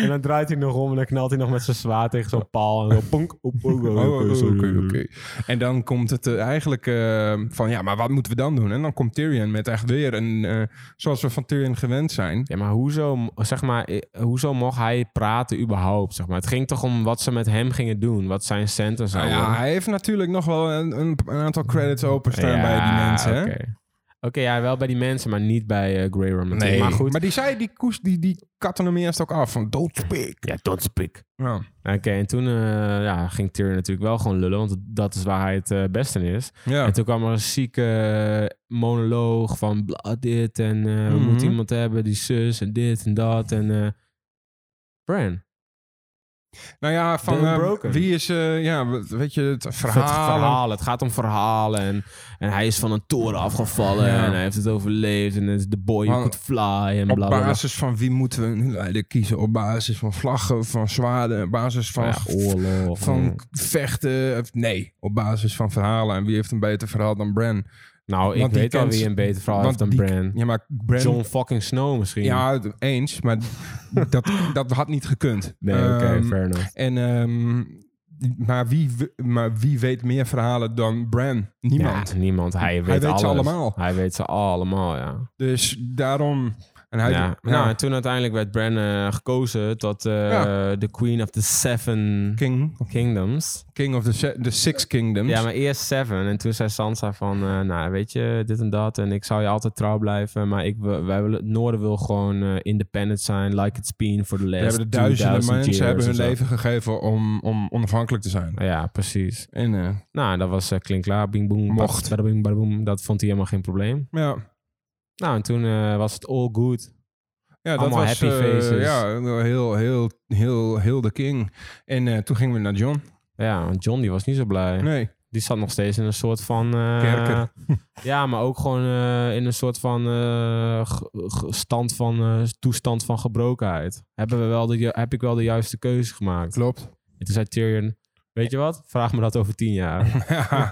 [SPEAKER 3] En dan draait hij nog om en dan knalt hij nog met zijn zwaard tegen zo'n paal. En dan ponk. oep, oep, oep,
[SPEAKER 2] Oh, oké,
[SPEAKER 3] oep, oep,
[SPEAKER 2] oké,
[SPEAKER 3] oep.
[SPEAKER 2] oké. En dan komt het eh, eigenlijk eh, van, ja, maar wat moeten we dan doen? En dan komt Tyrion met echt weer een, eh, zoals we van Tyrion gewend zijn.
[SPEAKER 3] Ja, maar hoezo, m- zeg maar, eh, hoezo mocht hij praten überhaupt? Zeg maar? Het ging toch om wat ze met hem gingen doen? Wat zijn centen
[SPEAKER 2] Nou
[SPEAKER 3] zouden
[SPEAKER 2] ja, hij heeft natuurlijk nog wel een, een, een aantal credits openstaan bij die mensen. hè?
[SPEAKER 3] Oké, Oké, ja, wel bij die mensen, maar niet bij eh, Grey Worm. natuurlijk. Maar goed.
[SPEAKER 2] Maar die zei, die koes, die, die katten hem eerst ook af van doodspik.
[SPEAKER 3] Ja, don't speak.
[SPEAKER 2] Ja.
[SPEAKER 3] Oké, en toen eh, ja, ging Tyrion natuurlijk wel gewoon lullen, want dat is waar hij het eh, best in is.
[SPEAKER 2] Ja.
[SPEAKER 3] En toen kwam er een zieke eh, monoloog van bla, dit en eh, we
[SPEAKER 2] Mhm.
[SPEAKER 3] moeten iemand hebben, die zus en dit en dat en... eh Bran.
[SPEAKER 2] Nou ja, van
[SPEAKER 3] Don't
[SPEAKER 2] eh,
[SPEAKER 3] broken.
[SPEAKER 2] wie is, eh, ja, weet je, het verhaal.
[SPEAKER 3] Het, verhaal. het gaat om verhalen. En, en hij is van een toren afgevallen.
[SPEAKER 2] Ja.
[SPEAKER 3] En hij heeft het overleefd. En het is de boy who
[SPEAKER 2] Maar
[SPEAKER 3] could fly. En bla
[SPEAKER 2] Op
[SPEAKER 3] bla bla.
[SPEAKER 2] basis van wie moeten we nu leider kiezen? Op basis van vlaggen, van zwaarden, op basis van
[SPEAKER 3] Ja, oorlog. mm.
[SPEAKER 2] van vechten. of- Nee, op basis van verhalen. En wie heeft een beter verhaal dan Bran?
[SPEAKER 3] nou, ik
[SPEAKER 2] want die
[SPEAKER 3] weet al
[SPEAKER 2] kent-
[SPEAKER 3] wie een beter verhaal heeft
[SPEAKER 2] want
[SPEAKER 3] dan
[SPEAKER 2] die-
[SPEAKER 3] Bran.
[SPEAKER 2] Ja, maar Bran...
[SPEAKER 3] John fucking Snow misschien.
[SPEAKER 2] Ja, het- eens, maar dat, dat had niet gekund.
[SPEAKER 3] Nee, oké,
[SPEAKER 2] Ehm,
[SPEAKER 3] fair enough.
[SPEAKER 2] En, ehm, maar, wie, w- maar wie weet meer verhalen dan Bran? Niemand.
[SPEAKER 3] Ja, niemand. Hij weet,
[SPEAKER 2] weet ze
[SPEAKER 3] alles.
[SPEAKER 2] allemaal.
[SPEAKER 3] Hij weet ze allemaal, ja.
[SPEAKER 2] Dus daarom... En hij,
[SPEAKER 3] ja.
[SPEAKER 2] ja.
[SPEAKER 3] Nou, en toen uiteindelijk werd Bran eh, gekozen tot eh,
[SPEAKER 2] Ja.
[SPEAKER 3] de Queen of the Seven
[SPEAKER 2] King,
[SPEAKER 3] Kingdoms.
[SPEAKER 2] King of the, se- the Six Kingdoms.
[SPEAKER 3] Ja, maar eerst Seven. En toen zei Sansa van, eh, nou weet je, dit en dat. En ik zou je altijd trouw blijven. Maar ik, wil- wij willen, het Noorden wil gewoon eh, independent zijn. Like it's been for the
[SPEAKER 2] We
[SPEAKER 3] last
[SPEAKER 2] hebben de duizenden
[SPEAKER 3] 2000
[SPEAKER 2] mensen hebben hun
[SPEAKER 3] years of zo.
[SPEAKER 2] leven gegeven om, om onafhankelijk te zijn.
[SPEAKER 3] Ja, precies.
[SPEAKER 2] En eh,
[SPEAKER 3] Nou, dat was eh klinkklaar. Bing, boom,
[SPEAKER 2] Mocht.
[SPEAKER 3] bada bing, bada boom. Dat vond hij helemaal geen probleem.
[SPEAKER 2] ja,
[SPEAKER 3] Nou, en toen eh, was het all good.
[SPEAKER 2] ja dat
[SPEAKER 3] Allemaal
[SPEAKER 2] was
[SPEAKER 3] happy
[SPEAKER 2] eh,
[SPEAKER 3] faces.
[SPEAKER 2] ja, heel, heel, heel, heel de king. En eh, toen gingen we naar John.
[SPEAKER 3] Ja, want John die was niet zo blij.
[SPEAKER 2] Nee,
[SPEAKER 3] Die zat nog steeds in een soort van... eh,
[SPEAKER 2] Kerker.
[SPEAKER 3] Ja, maar ook gewoon eh, in een soort van, eh, g- g- stand van eh, toestand van gebrokenheid. Hebben we wel de, ju- heb ik wel de juiste keuze gemaakt?
[SPEAKER 2] klopt.
[SPEAKER 3] En toen zei Tyrion, weet je wat? Vraag me dat over tien jaar.
[SPEAKER 2] Ja.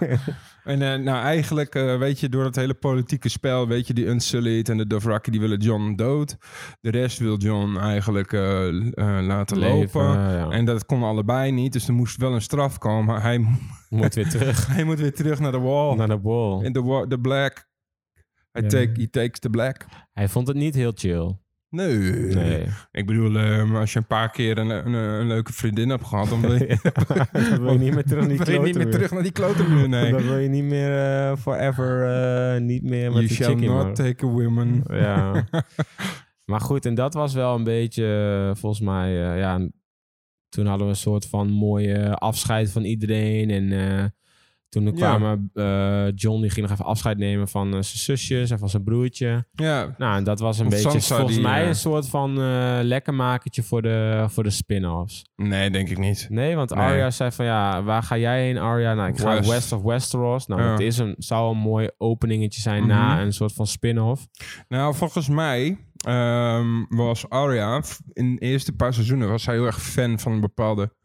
[SPEAKER 2] en eh, nou eigenlijk, eh, weet je, door dat hele politieke spel, weet je, die Unsullied en de Dothraki, die willen John dood. De rest wil John eigenlijk eh, eh, laten
[SPEAKER 3] Leven,
[SPEAKER 2] lopen.
[SPEAKER 3] eh, ja.
[SPEAKER 2] En dat kon allebei niet, dus er moest wel een straf komen. Hij,
[SPEAKER 3] Moet weer terug
[SPEAKER 2] hij moet weer terug naar de wall.
[SPEAKER 3] naar de wall.
[SPEAKER 2] In de wa- de black. Hij
[SPEAKER 3] Ja.
[SPEAKER 2] take, he takes the black.
[SPEAKER 3] Hij vond het niet heel chill.
[SPEAKER 2] Nee.
[SPEAKER 3] Nee.
[SPEAKER 2] Ik bedoel, eh, als je een paar keer een, een, een leuke vriendin hebt gehad, dan wil je,
[SPEAKER 3] Dan wil je niet meer terug naar die
[SPEAKER 2] wil je niet
[SPEAKER 3] klote
[SPEAKER 2] meer
[SPEAKER 3] muur.
[SPEAKER 2] terug naar die klote muur. Nee.
[SPEAKER 3] Dan wil je niet meer eh, forever, eh, niet meer met
[SPEAKER 2] You
[SPEAKER 3] die
[SPEAKER 2] shall
[SPEAKER 3] chickie,
[SPEAKER 2] not
[SPEAKER 3] man.
[SPEAKER 2] take a woman.
[SPEAKER 3] Ja. maar goed, en dat was wel een beetje, eh, volgens mij, eh, ja, een- toen hadden we een soort van mooie afscheid van iedereen. En eh, Toen er
[SPEAKER 2] Ja.
[SPEAKER 3] kwamen eh, John, die ging nog even afscheid nemen van eh, zijn zusjes en van zijn broertje.
[SPEAKER 2] Ja,
[SPEAKER 3] Nou, en dat was een
[SPEAKER 2] Of
[SPEAKER 3] beetje
[SPEAKER 2] Sansa
[SPEAKER 3] volgens
[SPEAKER 2] die,
[SPEAKER 3] mij
[SPEAKER 2] eh,
[SPEAKER 3] een soort van eh lekkermakertje voor de, voor de spin-offs.
[SPEAKER 2] nee, denk ik niet.
[SPEAKER 3] Nee, want
[SPEAKER 2] Nee.
[SPEAKER 3] Arya zei van ja, waar ga jij heen Arya? Nou, ik ga
[SPEAKER 2] West.
[SPEAKER 3] West, of Westeros. Nou,
[SPEAKER 2] Ja.
[SPEAKER 3] het is een, zou een mooi openingetje zijn na
[SPEAKER 2] Mhm.
[SPEAKER 3] een soort van spin-off.
[SPEAKER 2] Nou, volgens mij ehm, was Arya f- in de eerste paar seizoenen was zij heel erg fan van een bepaalde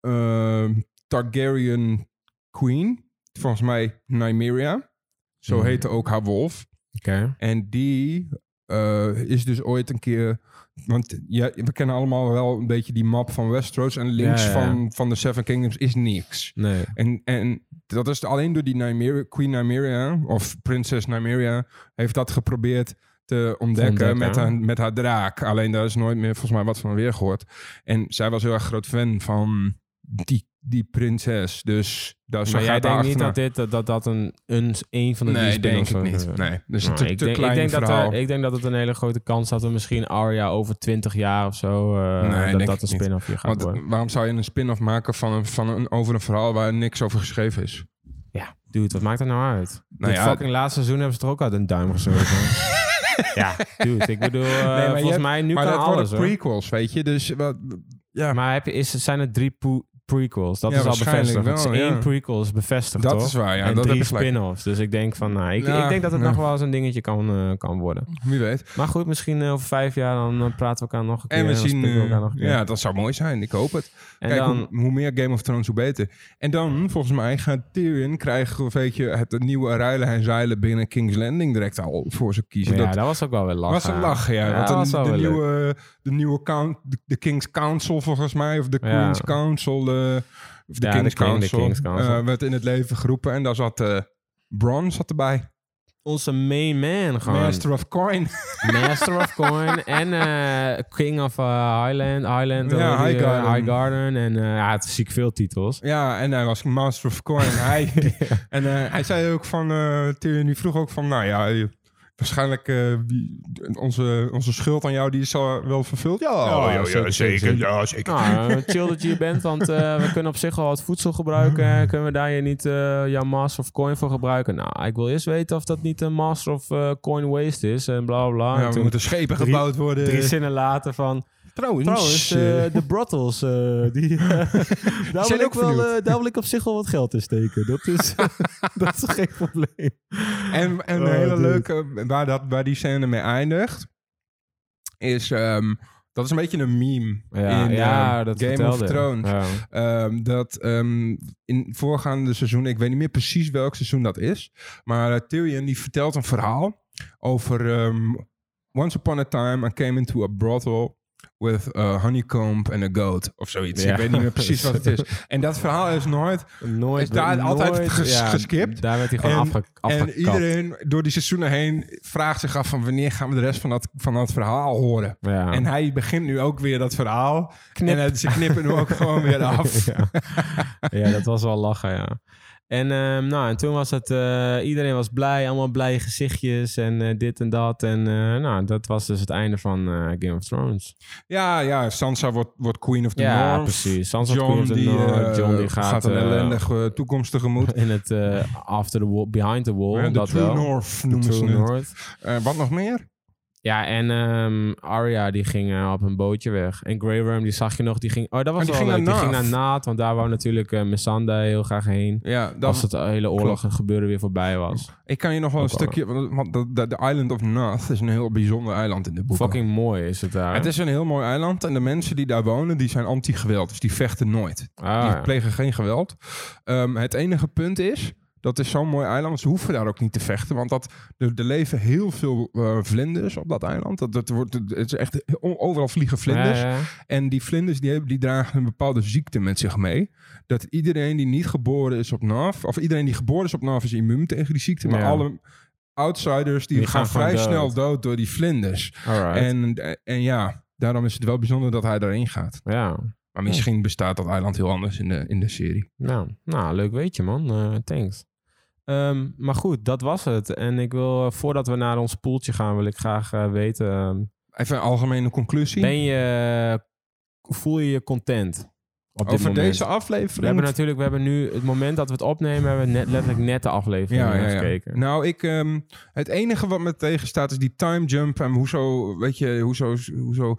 [SPEAKER 2] ehm, Targaryen queen. Volgens mij Nymeria. Zo
[SPEAKER 3] Mhm.
[SPEAKER 2] heette ook haar wolf.
[SPEAKER 3] Oké.
[SPEAKER 2] En die eh, is dus ooit een keer... Want ja, we kennen allemaal wel een beetje die map van Westeros. En links
[SPEAKER 3] Ja, ja, ja.
[SPEAKER 2] Van, van de Seven Kingdoms is niks.
[SPEAKER 3] Nee.
[SPEAKER 2] En, en dat is alleen door die Nymeria, Queen Nymeria, of Prinses Nymeria, heeft dat geprobeerd te ontdekken,
[SPEAKER 3] Ontdekken.
[SPEAKER 2] Met, haar, met haar draak. Alleen daar is nooit meer volgens mij wat van weer gehoord. En zij was heel erg groot fan van die, die prinses. Dus daar zag
[SPEAKER 3] Maar jij
[SPEAKER 2] het haar
[SPEAKER 3] denkt niet
[SPEAKER 2] achterna.
[SPEAKER 3] dat dit, dat, dat dat een, een, een van de drie
[SPEAKER 2] Nee, denk
[SPEAKER 3] spin-offs
[SPEAKER 2] ik
[SPEAKER 3] zou
[SPEAKER 2] niet.
[SPEAKER 3] kunnen.
[SPEAKER 2] Nee, dus
[SPEAKER 3] Nou,
[SPEAKER 2] te,
[SPEAKER 3] ik,
[SPEAKER 2] te
[SPEAKER 3] denk,
[SPEAKER 2] klein
[SPEAKER 3] ik, denk dat
[SPEAKER 2] verhaal.
[SPEAKER 3] er- ik denk dat het een hele grote kans dat we misschien Arya over 20 jaar of zo... eh,
[SPEAKER 2] Nee,
[SPEAKER 3] dat
[SPEAKER 2] denk
[SPEAKER 3] dat een
[SPEAKER 2] ik niet.
[SPEAKER 3] spin-offje gaat
[SPEAKER 2] Want
[SPEAKER 3] worden.
[SPEAKER 2] waarom zou je een spin-off maken van een, van een, over een verhaal waar niks over geschreven is?
[SPEAKER 3] Ja, dude, wat maakt dat nou uit?
[SPEAKER 2] Nou
[SPEAKER 3] Dit
[SPEAKER 2] ja,
[SPEAKER 3] fucking laatste seizoen hebben ze er ook uit een duim gezogen. ja, dude, ik bedoel, eh,
[SPEAKER 2] maar je
[SPEAKER 3] volgens
[SPEAKER 2] hebt-
[SPEAKER 3] mij nu
[SPEAKER 2] maar
[SPEAKER 3] kan
[SPEAKER 2] dat
[SPEAKER 3] alles
[SPEAKER 2] worden
[SPEAKER 3] hoor.
[SPEAKER 2] prequels, weet je. Dus wat, ja,
[SPEAKER 3] Maar heb je, is, zijn er drie po- prequels? Dat
[SPEAKER 2] Ja,
[SPEAKER 3] is al
[SPEAKER 2] waarschijnlijk
[SPEAKER 3] bevestigd. Het is
[SPEAKER 2] wel,
[SPEAKER 3] één
[SPEAKER 2] ja.
[SPEAKER 3] prequel is bevestigd,
[SPEAKER 2] dat
[SPEAKER 3] toch?
[SPEAKER 2] is waar. Ja,
[SPEAKER 3] en
[SPEAKER 2] dat heb
[SPEAKER 3] drie
[SPEAKER 2] je gelijk.
[SPEAKER 3] spin-offs. Dus ik denk van, nou, ik,
[SPEAKER 2] Ja,
[SPEAKER 3] ik denk dat het
[SPEAKER 2] ja.
[SPEAKER 3] nog wel eens een dingetje kan, eh, kan worden.
[SPEAKER 2] Wie weet.
[SPEAKER 3] Maar goed, misschien eh, over vijf jaar dan eh, praten we elkaar nog een keer.
[SPEAKER 2] En we
[SPEAKER 3] dan
[SPEAKER 2] zien...
[SPEAKER 3] spreken we
[SPEAKER 2] eh,
[SPEAKER 3] elkaar nog een keer.
[SPEAKER 2] ja, dat zou mooi zijn. Ik hoop het.
[SPEAKER 3] en
[SPEAKER 2] Kijk,
[SPEAKER 3] dan,
[SPEAKER 2] hoe, hoe meer Game of Thrones, hoe beter. En dan, volgens mij, gaat Tyrion krijgen, weet je, het nieuwe ruilen en zeilen binnen King's Landing direct al voor ze kiezen.
[SPEAKER 3] ja,
[SPEAKER 2] dat
[SPEAKER 3] dat was ook wel weer lachen.
[SPEAKER 2] was een lach, ja.
[SPEAKER 3] Ja,
[SPEAKER 2] want
[SPEAKER 3] dat was
[SPEAKER 2] de,
[SPEAKER 3] wel
[SPEAKER 2] de
[SPEAKER 3] weer
[SPEAKER 2] nieuwe, de nieuwe count, de, de King's Council, volgens mij, of de
[SPEAKER 3] Ja.
[SPEAKER 2] Queen's Council, eh, of de
[SPEAKER 3] Ja, de
[SPEAKER 2] King's
[SPEAKER 3] King- de
[SPEAKER 2] Council,
[SPEAKER 3] King's Council.
[SPEAKER 2] eh, werd in het leven geroepen. En daar zat eh Bron zat erbij.
[SPEAKER 3] Onze main man gewoon.
[SPEAKER 2] Master of Coin.
[SPEAKER 3] Master of Coin en eh, King of eh, Highland,
[SPEAKER 2] Ja,
[SPEAKER 3] Highland eh, die, eh,
[SPEAKER 2] Highgarden.
[SPEAKER 3] Highgarden. En eh, ja, het is ziek veel titels.
[SPEAKER 2] Ja, en hij was Master of Coin. hij, en eh, hij zei ook van, eh Tyrion, die vroeg ook van, nou ja, eh, waarschijnlijk eh, wie- onze, onze schuld aan jou, die is al wel vervuld. Ja,
[SPEAKER 3] Oh, ja,
[SPEAKER 2] ja,
[SPEAKER 3] zeker, zeker.
[SPEAKER 2] Ja, zeker.
[SPEAKER 3] Nou, eh, chill dat je hier bent, want eh, we kunnen op zich al wat voedsel
[SPEAKER 2] Mm.
[SPEAKER 3] gebruiken. Kunnen we daar je niet eh, jouw Master of Coin voor gebruiken? Nou, ik wil eerst weten of dat niet een Master of eh, Coin Waste is en bla bla bla.
[SPEAKER 2] Ja,
[SPEAKER 3] en
[SPEAKER 2] we
[SPEAKER 3] toen
[SPEAKER 2] moeten schepen
[SPEAKER 3] drie-
[SPEAKER 2] gebouwd worden.
[SPEAKER 3] drie zinnen later van...
[SPEAKER 2] trouwens,
[SPEAKER 3] Trouwens, eh,
[SPEAKER 2] eh,
[SPEAKER 3] de brothels, eh, die, eh, daar, wil
[SPEAKER 2] Zijn
[SPEAKER 3] ik
[SPEAKER 2] ook
[SPEAKER 3] wel,
[SPEAKER 2] vernieuwd.
[SPEAKER 3] eh, daar wil ik op zich wel wat geld in steken. Dat is, dat is geen probleem.
[SPEAKER 2] en en
[SPEAKER 3] Oh,
[SPEAKER 2] een hele
[SPEAKER 3] dude.
[SPEAKER 2] leuke, waar, dat, waar die scène mee eindigt, is, ehm, dat is een beetje een meme in eh, Game of Thrones. Ehm, dat ehm, in voorgaande seizoen, ik weet niet meer precies welk seizoen dat is, maar eh, Tyrion die vertelt een verhaal over ehm, once upon a time I came into a brothel with a honeycomb and a goat of zoiets.
[SPEAKER 3] Ja.
[SPEAKER 2] Ik weet niet meer precies wat het is. En dat verhaal is nooit.
[SPEAKER 3] Nooit,
[SPEAKER 2] Is daar altijd
[SPEAKER 3] nooit-
[SPEAKER 2] ges- geskipt?
[SPEAKER 3] Daar werd hij gewoon
[SPEAKER 2] En-
[SPEAKER 3] afge, afgekapt.
[SPEAKER 2] En iedereen door die seizoenen heen vraagt zich af van wanneer gaan we de rest van dat, van dat verhaal horen.
[SPEAKER 3] ja.
[SPEAKER 2] En hij begint nu ook weer dat verhaal.
[SPEAKER 3] Knip.
[SPEAKER 2] En het- ze knippen hem ook gewoon weer af.
[SPEAKER 3] ja. ja, dat was wel lachen, ja. En, ehm, nou, en toen was het, eh, iedereen was blij, allemaal blije gezichtjes en eh, dit en dat. En eh, nou, dat was dus het einde van eh, Game of Thrones.
[SPEAKER 2] Ja, ja, Sansa wordt, wordt Queen of the
[SPEAKER 3] Ja,
[SPEAKER 2] North.
[SPEAKER 3] precies. Sansa
[SPEAKER 2] John,
[SPEAKER 3] Queen of the
[SPEAKER 2] die,
[SPEAKER 3] North.
[SPEAKER 2] eh,
[SPEAKER 3] John die
[SPEAKER 2] gaat,
[SPEAKER 3] gaat,
[SPEAKER 2] een
[SPEAKER 3] eh,
[SPEAKER 2] ellendige toekomst tegemoet.
[SPEAKER 3] in het eh, after the wall, behind the wall.
[SPEAKER 2] Eh, De
[SPEAKER 3] dat
[SPEAKER 2] True
[SPEAKER 3] wel.
[SPEAKER 2] North
[SPEAKER 3] De
[SPEAKER 2] noemen ze
[SPEAKER 3] True
[SPEAKER 2] het.
[SPEAKER 3] North.
[SPEAKER 2] Eh, wat nog meer?
[SPEAKER 3] Ja, en ehm Arya die ging eh, op een bootje weg. En Grey Worm die zag je nog, die ging... Oh, dat was
[SPEAKER 2] Oh, die
[SPEAKER 3] wel
[SPEAKER 2] ging
[SPEAKER 3] leuk.
[SPEAKER 2] naar
[SPEAKER 3] Die ging naar
[SPEAKER 2] Naaf.
[SPEAKER 3] Naad, want daar wou natuurlijk eh Missandei heel graag heen.
[SPEAKER 2] Ja, dat,
[SPEAKER 3] als het hele oorlog gebeuren weer voorbij was.
[SPEAKER 2] ik kan je nog wel een
[SPEAKER 3] Ook wel.
[SPEAKER 2] stukje... want- Want de, de, de Island of North is een heel bijzonder eiland in de boeken.
[SPEAKER 3] Fucking mooi is het daar.
[SPEAKER 2] Het is een heel mooi eiland en de mensen die daar wonen, die zijn anti-geweld. Dus die vechten nooit.
[SPEAKER 3] Ah,
[SPEAKER 2] Die
[SPEAKER 3] ja.
[SPEAKER 2] plegen geen geweld. Ehm, het enige punt is, dat is zo'n mooi eiland. Ze hoeven daar ook niet te vechten. Want dat, er, er leven heel veel eh, vlinders op dat eiland. Dat, dat wordt, het is echt, o- overal vliegen vlinders.
[SPEAKER 3] Ja, ja.
[SPEAKER 2] En die vlinders die, hebben, die dragen een bepaalde ziekte met zich mee. Dat iedereen die niet geboren is op NAF... of iedereen die geboren is op NAF is immuun tegen die ziekte. Maar
[SPEAKER 3] Ja.
[SPEAKER 2] alle outsiders die,
[SPEAKER 3] Die
[SPEAKER 2] gaan,
[SPEAKER 3] gaan gewoon
[SPEAKER 2] vrij
[SPEAKER 3] dood.
[SPEAKER 2] snel dood door die vlinders.
[SPEAKER 3] Alright.
[SPEAKER 2] En, en ja, daarom is het wel bijzonder dat hij daarin gaat.
[SPEAKER 3] ja.
[SPEAKER 2] Maar misschien bestaat dat eiland heel anders in de, in de serie.
[SPEAKER 3] Nou, nou, leuk weetje man. Eh, thanks. Ehm, maar goed, dat was het. En ik wil, eh, voordat we naar ons poeltje gaan, wil ik graag eh, weten... ehm,
[SPEAKER 2] Even een algemene conclusie.
[SPEAKER 3] Ben je, voel je je content?
[SPEAKER 1] Op dit
[SPEAKER 2] Over
[SPEAKER 1] moment.
[SPEAKER 2] deze aflevering?
[SPEAKER 3] We hebben natuurlijk, we hebben nu het moment dat we het opnemen, hebben we net, letterlijk net de aflevering
[SPEAKER 2] ja, ja, ja.
[SPEAKER 3] gekeken.
[SPEAKER 2] Nou, ik, ehm, het enige wat me tegenstaat is die time jump. En hoezo, weet je, hoezo, hoezo eh,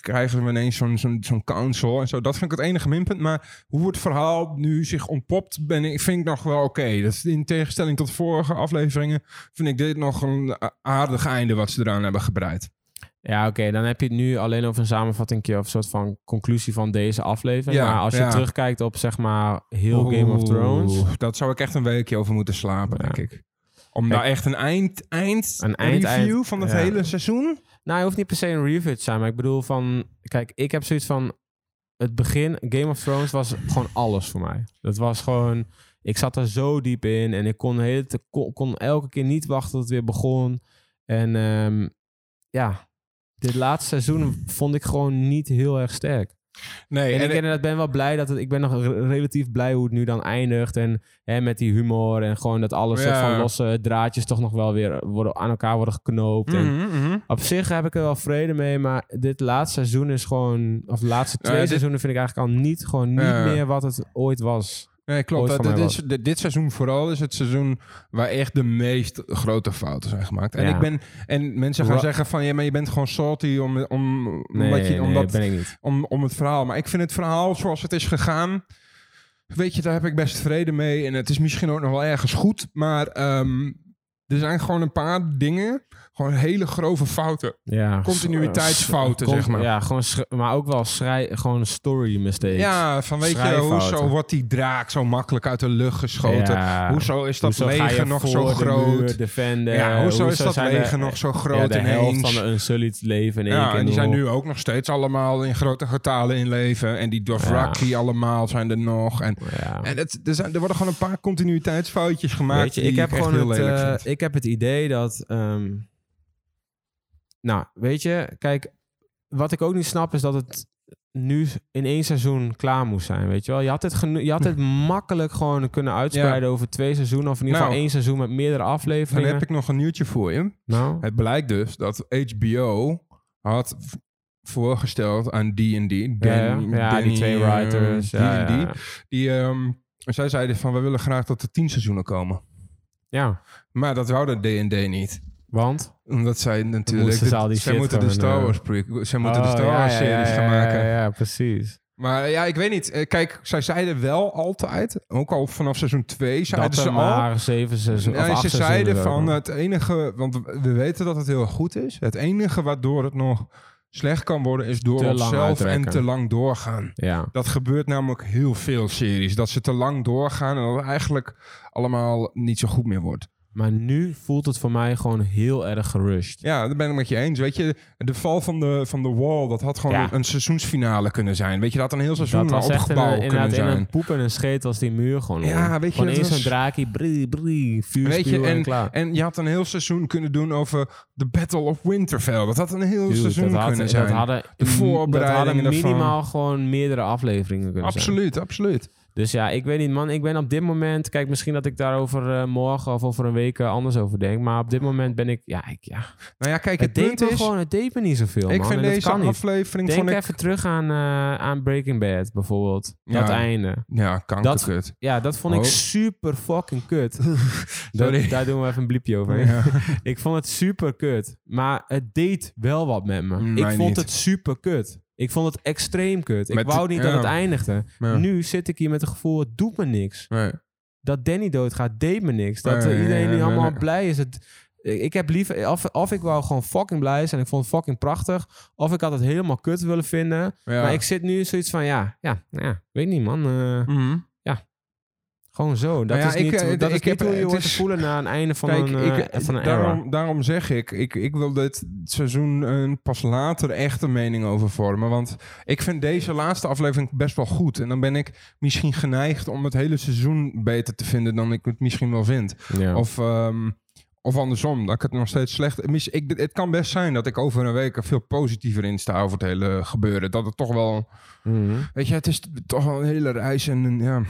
[SPEAKER 2] krijgen we ineens zo'n zo'n zo'n council en zo. Dat vind ik het enige minpunt. Maar hoe het verhaal nu zich ontpopt, ben ik, vind ik nog wel oké. Dat is in tegenstelling tot vorige afleveringen, vind ik dit nog een a- aardig einde wat ze eraan hebben gebreid.
[SPEAKER 3] Ja, oké. dan heb je het nu alleen over een samenvatting of een soort van conclusie van deze aflevering.
[SPEAKER 2] Ja,
[SPEAKER 3] maar als je
[SPEAKER 2] ja.
[SPEAKER 3] terugkijkt op zeg maar heel Game of Thrones.
[SPEAKER 2] Oeh, Dat zou ik echt een weekje over moeten slapen,
[SPEAKER 3] Ja.
[SPEAKER 2] denk ik. Om
[SPEAKER 3] Kijk,
[SPEAKER 2] daar echt een eind, eind,
[SPEAKER 3] een eind-
[SPEAKER 2] review
[SPEAKER 3] eind-
[SPEAKER 2] van het
[SPEAKER 3] ja.
[SPEAKER 2] hele seizoen.
[SPEAKER 3] Nou, het hoeft niet per se een review te zijn. Maar ik bedoel van... Kijk, ik heb zoiets van... Het begin, Game of Thrones was gewoon alles voor mij. Dat was gewoon... Ik zat er zo diep in. En ik kon, de hele, tijd- kon, kon elke keer niet wachten tot het weer begon. En ehm, ja... Dit laatste seizoen vond ik gewoon niet heel erg sterk.
[SPEAKER 2] Nee,
[SPEAKER 3] En,
[SPEAKER 2] en
[SPEAKER 3] ik inderdaad ben wel blij dat het... Ik ben nog re- relatief blij hoe het nu dan eindigt. En hè, met die humor en gewoon dat alle soort
[SPEAKER 2] Ja.
[SPEAKER 3] van losse draadjes... toch nog wel weer eh, worden, aan elkaar worden geknoopt. En
[SPEAKER 2] Mhm, mhm.
[SPEAKER 3] op zich heb ik er wel vrede mee, maar dit laatste seizoen is gewoon... Of de laatste twee
[SPEAKER 2] Ja, dit-
[SPEAKER 3] seizoenen vind ik eigenlijk al niet, gewoon niet
[SPEAKER 2] Ja.
[SPEAKER 3] meer wat het ooit was.
[SPEAKER 2] Nee, klopt.
[SPEAKER 3] Ooit
[SPEAKER 2] Dat-
[SPEAKER 3] van mij
[SPEAKER 2] dit, is- dit- dit seizoen vooral is het seizoen waar echt de meest grote fouten zijn gemaakt. En,
[SPEAKER 3] Ja.
[SPEAKER 2] ik ben, en mensen gaan
[SPEAKER 3] Ra-
[SPEAKER 2] zeggen van, ja, maar je bent gewoon salty om, om,
[SPEAKER 3] Nee,
[SPEAKER 2] omdat je,
[SPEAKER 3] nee,
[SPEAKER 2] omdat,
[SPEAKER 3] ben ik niet.
[SPEAKER 2] om, om het verhaal. Maar ik vind het verhaal zoals het is gegaan, weet je, daar heb ik best vrede mee. En het is misschien ook nog wel ergens goed, maar ehm, er zijn gewoon een paar dingen, gewoon hele grove fouten.
[SPEAKER 3] Ja,
[SPEAKER 2] Continuïteitsfouten, zeg maar.
[SPEAKER 3] Ja, gewoon sch- maar ook wel schrij gewoon story mistakes.
[SPEAKER 2] Ja, van weet je,
[SPEAKER 3] Schrijffouten.
[SPEAKER 2] hoezo wordt die draak zo makkelijk uit de lucht geschoten?
[SPEAKER 3] Ja.
[SPEAKER 2] Hoezo is dat
[SPEAKER 3] Hoezo ga je
[SPEAKER 2] leger nog zo
[SPEAKER 3] voor de
[SPEAKER 2] groot?
[SPEAKER 3] muur defenden?
[SPEAKER 2] ja, hoezo, is dat
[SPEAKER 3] zijn de-
[SPEAKER 2] leger nog zo
[SPEAKER 3] ja,
[SPEAKER 2] groot
[SPEAKER 3] de helft
[SPEAKER 2] ineens?
[SPEAKER 3] van een Unsullied leven in één
[SPEAKER 2] ja,
[SPEAKER 3] keer.
[SPEAKER 2] en die zijn
[SPEAKER 3] nog.
[SPEAKER 2] nu ook nog steeds allemaal in grote getalen in leven. En die Dothraki allemaal zijn er nog. En,
[SPEAKER 3] Ja.
[SPEAKER 2] en het, er, zijn, er worden gewoon een paar continuïteitsfoutjes gemaakt
[SPEAKER 3] Weet je,
[SPEAKER 2] die
[SPEAKER 3] ik heb
[SPEAKER 2] echt
[SPEAKER 3] gewoon
[SPEAKER 2] heel
[SPEAKER 3] het,
[SPEAKER 2] lelijk
[SPEAKER 3] eh,
[SPEAKER 2] vind.
[SPEAKER 3] ik heb het idee dat. ehm, nou, weet je, kijk, wat ik ook niet snap is dat het nu in één seizoen klaar moest zijn. Weet je wel, je had het, geno- je had het makkelijk gewoon kunnen uitspreiden over twee seizoenen, of in ieder
[SPEAKER 2] Nou.
[SPEAKER 3] geval één seizoen met meerdere
[SPEAKER 2] Dan
[SPEAKER 3] afleveringen.
[SPEAKER 2] heb ik nog een nieuwtje voor je.
[SPEAKER 3] Nou,
[SPEAKER 2] Het blijkt dus dat HBO had v- voorgesteld aan D&D. Danny-
[SPEAKER 3] ja, ja, ja, die
[SPEAKER 2] Danny,
[SPEAKER 3] twee
[SPEAKER 2] eh,
[SPEAKER 3] writers. ja,
[SPEAKER 2] D&D.
[SPEAKER 3] ja, ja.
[SPEAKER 2] Die, ehm, zij zeiden van, we willen graag dat er tien seizoenen komen.
[SPEAKER 3] Ja,
[SPEAKER 2] Maar dat wouden D&D niet.
[SPEAKER 3] want.
[SPEAKER 2] Omdat zij natuurlijk...
[SPEAKER 3] moesten ze al die
[SPEAKER 2] zij
[SPEAKER 3] shit
[SPEAKER 2] moeten de
[SPEAKER 3] gewoon,
[SPEAKER 2] Star
[SPEAKER 3] eh,
[SPEAKER 2] Wars... pre- zij moeten de
[SPEAKER 3] Oh,
[SPEAKER 2] Star
[SPEAKER 3] ja,
[SPEAKER 2] Wars
[SPEAKER 3] ja,
[SPEAKER 2] series
[SPEAKER 3] ja,
[SPEAKER 2] gaan
[SPEAKER 3] ja,
[SPEAKER 2] maken.
[SPEAKER 3] Ja, ja, precies.
[SPEAKER 2] Maar ja, ik weet niet. Eh, Kijk, zij zeiden wel altijd... Ook al vanaf seizoen 2 zeiden
[SPEAKER 3] Dat
[SPEAKER 2] ze
[SPEAKER 3] er
[SPEAKER 2] al...
[SPEAKER 3] maar zeven seizoenen. of
[SPEAKER 2] Ja,
[SPEAKER 3] acht
[SPEAKER 2] ze
[SPEAKER 3] seizoenen
[SPEAKER 2] zeiden
[SPEAKER 3] zouden
[SPEAKER 2] van
[SPEAKER 3] komen.
[SPEAKER 2] het enige... Want we weten dat het heel goed is. Het enige waardoor het nog slecht kan worden... is door
[SPEAKER 3] Te lang
[SPEAKER 2] onszelf en
[SPEAKER 3] uitrekken.
[SPEAKER 2] te lang doorgaan.
[SPEAKER 3] Ja.
[SPEAKER 2] Dat gebeurt namelijk heel veel series. Dat ze te lang doorgaan en dat het eigenlijk allemaal niet zo goed meer wordt.
[SPEAKER 3] Maar nu voelt het voor mij gewoon heel erg gerushed.
[SPEAKER 2] Ja, dat ben ik met je eens. Weet je, de val van de, van de wall, dat had gewoon
[SPEAKER 3] Ja.
[SPEAKER 2] een, een seizoensfinale kunnen zijn. Weet je, dat had een heel seizoen
[SPEAKER 3] Dat was echt in,
[SPEAKER 2] opgebouwd
[SPEAKER 3] een, eh, inderdaad
[SPEAKER 2] kunnen
[SPEAKER 3] in
[SPEAKER 2] zijn.
[SPEAKER 3] een poep en een scheet was die muur gewoon.
[SPEAKER 2] Ja,
[SPEAKER 3] hoor.
[SPEAKER 2] weet je,
[SPEAKER 3] Gewoon
[SPEAKER 2] dat
[SPEAKER 3] eens
[SPEAKER 2] was-
[SPEAKER 3] een draakie, brie, brie,
[SPEAKER 2] Weet je,
[SPEAKER 3] vuurspuw en, klaar.
[SPEAKER 2] En je had een heel seizoen kunnen doen over de Battle of Winterfell. Dat had een heel
[SPEAKER 3] Dude,
[SPEAKER 2] seizoen
[SPEAKER 3] dat had-
[SPEAKER 2] kunnen
[SPEAKER 3] dat
[SPEAKER 2] zijn.
[SPEAKER 3] hadden,
[SPEAKER 2] De voorbereidingen
[SPEAKER 3] dat hadden
[SPEAKER 2] ervan.
[SPEAKER 3] minimaal gewoon meerdere afleveringen kunnen zijn.
[SPEAKER 2] absoluut, absoluut.
[SPEAKER 3] Dus ja, ik weet niet man, ik ben op dit moment... Kijk, misschien dat ik daarover eh, morgen of over een week eh, anders over denk. Maar op dit moment ben ik... Ja, ik, ja.
[SPEAKER 2] Nou ja, kijk,
[SPEAKER 3] het
[SPEAKER 2] het,
[SPEAKER 3] deed
[SPEAKER 2] punt
[SPEAKER 3] me
[SPEAKER 2] is...
[SPEAKER 3] gewoon, het deed me niet zoveel
[SPEAKER 2] ik
[SPEAKER 3] man.
[SPEAKER 2] vind
[SPEAKER 3] en dat
[SPEAKER 2] deze
[SPEAKER 3] kan niet.
[SPEAKER 2] aflevering...
[SPEAKER 3] Denk
[SPEAKER 2] Vond ik,
[SPEAKER 3] even terug aan, eh, aan Breaking Bad bijvoorbeeld.
[SPEAKER 2] Ja.
[SPEAKER 3] Dat einde.
[SPEAKER 2] ja, kankerkut.
[SPEAKER 3] Ja, dat vond ik
[SPEAKER 2] Oh.
[SPEAKER 3] super fucking kut. Dat-
[SPEAKER 2] Sorry.
[SPEAKER 3] daar doen we even een bliepje over.
[SPEAKER 2] Ja.
[SPEAKER 3] Ik vond het super kut. Maar het deed wel wat met me.
[SPEAKER 2] Mm,
[SPEAKER 3] ik
[SPEAKER 2] mij
[SPEAKER 3] vond
[SPEAKER 2] niet.
[SPEAKER 3] het super kut. Ik vond het extreem kut. Ik
[SPEAKER 2] Met-
[SPEAKER 3] wou niet
[SPEAKER 2] ja.
[SPEAKER 3] dat het eindigde.
[SPEAKER 2] Ja.
[SPEAKER 3] Nu zit ik hier met het gevoel, het doet me niks.
[SPEAKER 2] Nee.
[SPEAKER 3] Dat Danny doodgaat, deed me niks. Dat
[SPEAKER 2] Nee,
[SPEAKER 3] eh, iedereen
[SPEAKER 2] nee,
[SPEAKER 3] nu
[SPEAKER 2] nee,
[SPEAKER 3] allemaal
[SPEAKER 2] nee.
[SPEAKER 3] blij is. Het, ik heb liever, of, of ik wou gewoon fucking blij zijn. Ik vond het fucking prachtig. Of ik had het helemaal kut willen vinden.
[SPEAKER 2] Ja.
[SPEAKER 3] Maar ik zit nu zoiets van, ja, ja, nou ja weet niet man. eh,
[SPEAKER 2] Mhm.
[SPEAKER 3] Gewoon zo. Dat
[SPEAKER 2] Nou ja,
[SPEAKER 3] is
[SPEAKER 2] ik,
[SPEAKER 3] niet,
[SPEAKER 2] eh,
[SPEAKER 3] dat is
[SPEAKER 2] ik
[SPEAKER 3] niet
[SPEAKER 2] heb-
[SPEAKER 3] hoe je
[SPEAKER 2] het
[SPEAKER 3] hoort te
[SPEAKER 2] is-
[SPEAKER 3] voelen na een einde van
[SPEAKER 2] Kijk,
[SPEAKER 3] een, eh,
[SPEAKER 2] ik,
[SPEAKER 3] van een era.
[SPEAKER 2] daarom, daarom zeg ik, ik, ik wil dit seizoen eh, pas later echt een mening over vormen. Want ik vind deze laatste aflevering best wel goed. En dan ben ik misschien geneigd om het hele seizoen beter te vinden dan ik het misschien wel vind.
[SPEAKER 3] Ja.
[SPEAKER 2] Of, ehm, of andersom, dat ik het nog steeds slecht... mis- Ik, het kan best zijn dat ik over een week er veel positiever in sta over het hele gebeuren. Dat het toch wel...
[SPEAKER 3] Mhm.
[SPEAKER 2] Weet je, het is toch wel een hele reis en een- ja...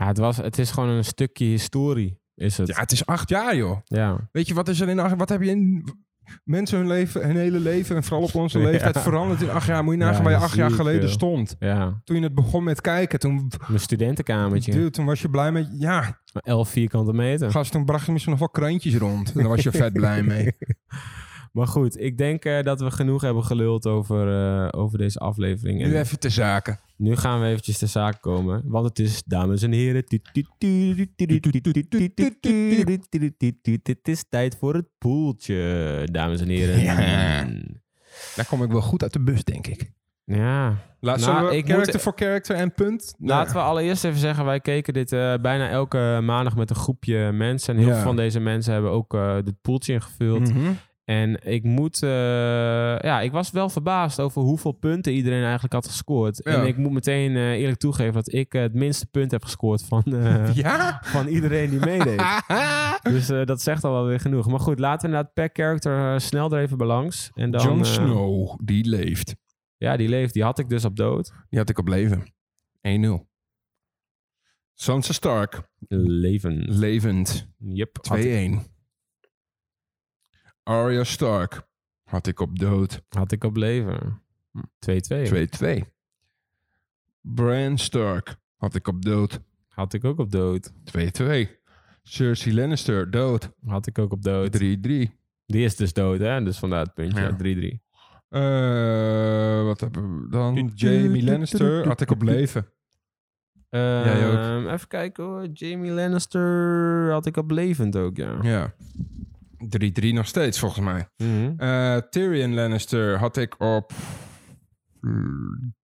[SPEAKER 3] Ja, het, was, het is gewoon een stukje historie, is het.
[SPEAKER 2] Ja,
[SPEAKER 3] Ja.
[SPEAKER 2] het is acht jaar, joh.
[SPEAKER 3] ja.
[SPEAKER 2] Weet je, wat is er in... acht- Wat heb je in... mensen hun, leven, hun hele leven en vooral op onze
[SPEAKER 3] Ja.
[SPEAKER 2] leeftijd veranderd in acht jaar. Moet je nagaan
[SPEAKER 3] Ja,
[SPEAKER 2] waar je acht jaar
[SPEAKER 3] ziek,
[SPEAKER 2] geleden
[SPEAKER 3] joh.
[SPEAKER 2] stond.
[SPEAKER 3] Ja,
[SPEAKER 2] Toen je het begon met kijken, toen,
[SPEAKER 3] mijn studentenkamertje.
[SPEAKER 2] dude, toen was je blij met, ja,
[SPEAKER 3] 11 vierkante meter.
[SPEAKER 2] gast, toen bracht je misschien nog wel krantjes rond. En daar was je vet blij mee.
[SPEAKER 3] Maar goed, ik denk eh, dat we genoeg hebben geluld over, eh, over deze aflevering. En
[SPEAKER 2] Nu even te zaken.
[SPEAKER 3] nu gaan we eventjes ter zaak komen. Want het is, dames en heren... Het is tijd voor het poeltje, dames en heren.
[SPEAKER 2] Ja. Daar kom ik wel goed uit de bus, denk ik.
[SPEAKER 3] Ja.
[SPEAKER 2] Laat,
[SPEAKER 3] Nou,
[SPEAKER 2] zullen we
[SPEAKER 3] ik
[SPEAKER 2] character
[SPEAKER 3] moet-
[SPEAKER 2] voor character en punt?
[SPEAKER 3] Laten we allereerst even zeggen, wij keken dit eh, bijna elke maandag met een groepje mensen. En heel
[SPEAKER 2] Ja.
[SPEAKER 3] veel van deze mensen hebben ook eh dit poeltje ingevuld.
[SPEAKER 2] Mhm.
[SPEAKER 3] En ik moet... eh, ja, ik was wel verbaasd over hoeveel punten iedereen eigenlijk had gescoord.
[SPEAKER 2] Ja.
[SPEAKER 3] En ik moet meteen eh, eerlijk toegeven dat ik eh, het minste punt heb gescoord van, eh,
[SPEAKER 2] Ja?
[SPEAKER 3] van iedereen die meedeed. dus eh, dat zegt al wel weer genoeg. Maar goed, laten we inderdaad per character eh, snel er even bij langs. En dan,
[SPEAKER 2] Jon
[SPEAKER 3] eh,
[SPEAKER 2] Snow, die leeft.
[SPEAKER 3] Ja, die leeft. Die had ik dus op dood.
[SPEAKER 2] Die had ik op leven. 1-0. Sansa Stark,
[SPEAKER 3] Leven.
[SPEAKER 2] levend.
[SPEAKER 3] Yep. had ik-
[SPEAKER 2] 2-1. Arya Stark had ik op dood.
[SPEAKER 3] Had ik op leven. 2-2.
[SPEAKER 2] 2-2. Bran Stark had ik op dood.
[SPEAKER 3] Had ik ook op dood.
[SPEAKER 2] 2-2. Cersei Lannister dood.
[SPEAKER 3] Had ik ook op dood.
[SPEAKER 2] 3-3.
[SPEAKER 3] Die is dus dood, hè? Dus vandaar het puntje.
[SPEAKER 2] Ja.
[SPEAKER 3] Ja, 3-3.
[SPEAKER 2] Eh, wat hebben we dan? Jamie Lannister had ik op leven. Jij ook.
[SPEAKER 3] Ehm, even kijken hoor. Jamie Lannister had ik op levend ook, ja.
[SPEAKER 2] Ja. 3-3 nog steeds volgens mij.
[SPEAKER 3] Mhm.
[SPEAKER 2] Eh, Tyrion Lannister had ik op. Mm,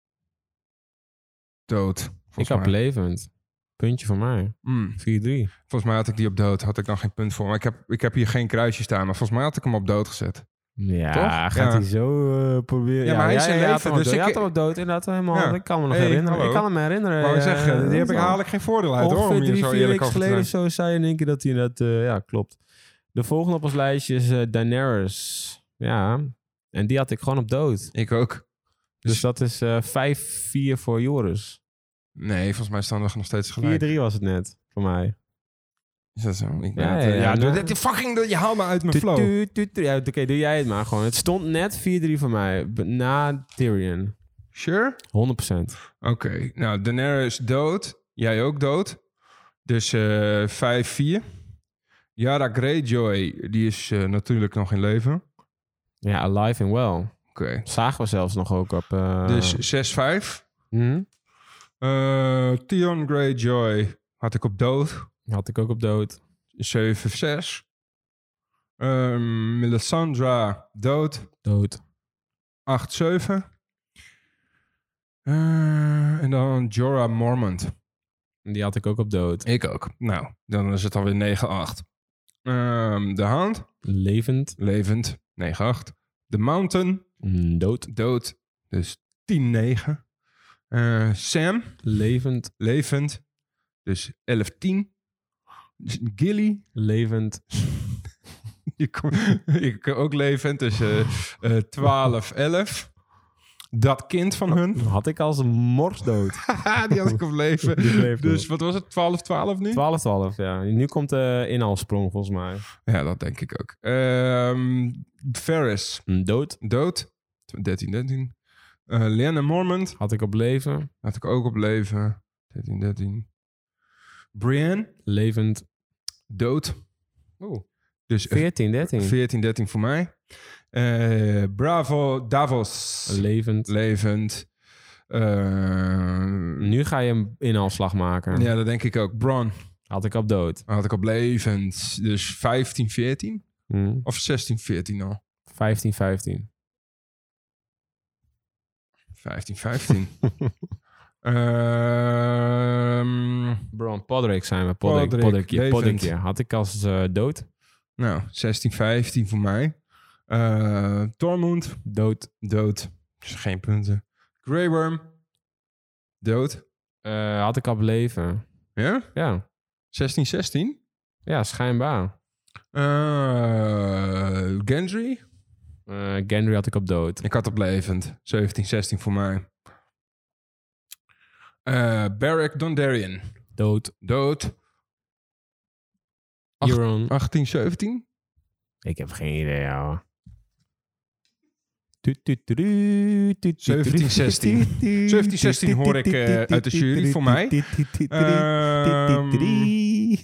[SPEAKER 2] Dood.
[SPEAKER 3] Ik
[SPEAKER 2] volgens
[SPEAKER 3] had
[SPEAKER 2] mij.
[SPEAKER 3] levend. Puntje voor mij. 4-3.
[SPEAKER 2] Mm. Volgens mij had ik die op dood. Had ik dan geen punt voor. Maar ik heb, ik heb hier geen kruisje staan. Maar volgens mij had ik hem op dood gezet.
[SPEAKER 3] Ja,
[SPEAKER 2] Toch?
[SPEAKER 3] gaat
[SPEAKER 2] Ja.
[SPEAKER 3] hij zo eh, proberen.
[SPEAKER 2] Ja, maar hij is in
[SPEAKER 3] jij had
[SPEAKER 2] leven,
[SPEAKER 3] hem op
[SPEAKER 2] dus
[SPEAKER 3] dood.
[SPEAKER 2] ik-
[SPEAKER 3] Jij had hem op dood inderdaad helemaal.
[SPEAKER 2] Ja.
[SPEAKER 3] Ik kan me nog
[SPEAKER 2] Hey,
[SPEAKER 3] herinneren.
[SPEAKER 2] hallo.
[SPEAKER 3] Ik kan me herinneren.
[SPEAKER 2] Wou
[SPEAKER 3] eh,
[SPEAKER 2] zeggen, die heb ik,
[SPEAKER 3] ja.
[SPEAKER 2] haal ik geen voordeel uit hoor. Om
[SPEAKER 3] Ongeveer
[SPEAKER 2] hier
[SPEAKER 3] drie,
[SPEAKER 2] zo
[SPEAKER 3] vier
[SPEAKER 2] eerlijk
[SPEAKER 3] weken
[SPEAKER 2] over te
[SPEAKER 3] geleden of
[SPEAKER 2] zijn.
[SPEAKER 3] zo zei in één keer dat hij dat... eh, ja, klopt. De volgende op ons lijstje is eh, Daenerys. Ja, en die had ik gewoon op dood.
[SPEAKER 2] Ik ook.
[SPEAKER 3] Dus dat is eh, 5-4 voor Joris. 4-3
[SPEAKER 2] Nee, volgens mij staan we nog steeds gelijk.
[SPEAKER 3] was het net voor mij.
[SPEAKER 2] Is dat zo? Ik ben
[SPEAKER 3] Ja,
[SPEAKER 2] het,
[SPEAKER 3] ja,
[SPEAKER 2] eh, ja,
[SPEAKER 3] ja,
[SPEAKER 2] doe
[SPEAKER 3] nou.
[SPEAKER 2] dit- fucking, doe- je haalt me uit mijn
[SPEAKER 3] Tu-
[SPEAKER 2] flow.
[SPEAKER 3] tu- tu- tu- Ja, Oké, doe jij het maar gewoon. Het stond net 4-3 voor mij. b- Na Tyrion.
[SPEAKER 2] Sure?
[SPEAKER 3] 100%.
[SPEAKER 2] Oké. Nou, Daenerys dood. Jij ook dood. Dus eh 5-4. Yara Greyjoy, die is eh, natuurlijk nog in leven.
[SPEAKER 3] Ja, alive and well.
[SPEAKER 2] Oké.
[SPEAKER 3] Zagen we zelfs nog ook op... eh,
[SPEAKER 2] Dus 6-5.
[SPEAKER 3] hm?
[SPEAKER 2] Eh Theon Greyjoy had ik op dood.
[SPEAKER 3] Had ik ook op dood.
[SPEAKER 2] 7-6. Ehm Melisandra dood.
[SPEAKER 3] Dood.
[SPEAKER 2] 8-7. Eh, en dan Jorah Mormont.
[SPEAKER 3] Die had ik ook op dood.
[SPEAKER 2] Ik ook. Nou, dan is het alweer 9-8. Ehm, de Hound,
[SPEAKER 3] Levend.
[SPEAKER 2] levend, 9-8. De Mountain,
[SPEAKER 3] Mm, Dood.
[SPEAKER 2] dood, dus 10-9. Eh, Sam,
[SPEAKER 3] Levend.
[SPEAKER 2] levend, dus 11-10. Gilly,
[SPEAKER 3] Levend.
[SPEAKER 2] Ik, ik ook levend, dus eh, eh, 12, 11. Dat kind van hun,
[SPEAKER 3] Had ik als een mors dood.
[SPEAKER 2] haha, die had ik op leven.
[SPEAKER 3] Die leeft
[SPEAKER 2] dus wat was het, 12, 12 nu?
[SPEAKER 3] 12-12, ja. Nu komt de inhaalsprong volgens mij.
[SPEAKER 2] Ja, dat denk ik ook. Ehm, Ferris,
[SPEAKER 3] Mm, Dood.
[SPEAKER 2] dood. 13, 13. Eh Liana Mormont,
[SPEAKER 3] Had ik op leven.
[SPEAKER 2] had ik ook op leven. 13, 13. Brienne,
[SPEAKER 3] Levend.
[SPEAKER 2] dood.
[SPEAKER 3] Oeh.
[SPEAKER 2] Dus
[SPEAKER 3] 14-13.
[SPEAKER 2] 14, 13 voor mij. Eh, Bravo, Davos,
[SPEAKER 3] Levend.
[SPEAKER 2] levend. Eh,
[SPEAKER 3] Nu ga je een inhaalslag maken.
[SPEAKER 2] Ja, dat denk ik ook. Bron
[SPEAKER 3] Had ik op dood.
[SPEAKER 2] had ik op levend. Dus 15, 14
[SPEAKER 3] Mm,
[SPEAKER 2] of 16, 14 al.
[SPEAKER 3] 15-15.
[SPEAKER 2] 15, 15. Ehm,
[SPEAKER 3] Bron Podrick zijn we. Podrick.
[SPEAKER 2] Podrick,
[SPEAKER 3] Podrickje.
[SPEAKER 2] levend.
[SPEAKER 3] Podrickje. Had ik als eh, dood.
[SPEAKER 2] nou, 16, 15 voor mij. Eh Tormund,
[SPEAKER 3] Dood.
[SPEAKER 2] dood. Dus geen punten. Grey Worm, dood.
[SPEAKER 3] Eh, had ik op leven.
[SPEAKER 2] Ja?
[SPEAKER 3] Ja.
[SPEAKER 2] 16, 16.
[SPEAKER 3] Ja, schijnbaar.
[SPEAKER 2] Eh Gendry,
[SPEAKER 3] Eh Gendry had ik op dood.
[SPEAKER 2] ik had op levend. 17, 16 voor mij. Eh Barrack Dondarrion,
[SPEAKER 3] Dood.
[SPEAKER 2] dood. Acht-
[SPEAKER 3] Euron.
[SPEAKER 2] 18, 17?
[SPEAKER 3] Ik heb geen idee, ouwe. Tu, tu, tu, tu, tu, tu,
[SPEAKER 2] 17, 16.
[SPEAKER 3] tu, tu,
[SPEAKER 2] 17, 16 hoor ik,
[SPEAKER 3] tu, tu,
[SPEAKER 2] eh,
[SPEAKER 3] tu,
[SPEAKER 2] uit de
[SPEAKER 3] tu,
[SPEAKER 2] jury
[SPEAKER 3] tu,
[SPEAKER 2] voor
[SPEAKER 3] tu,
[SPEAKER 2] mij.
[SPEAKER 3] tu, tu, tu, tu,
[SPEAKER 2] Ehm,
[SPEAKER 3] tu, tu, tu.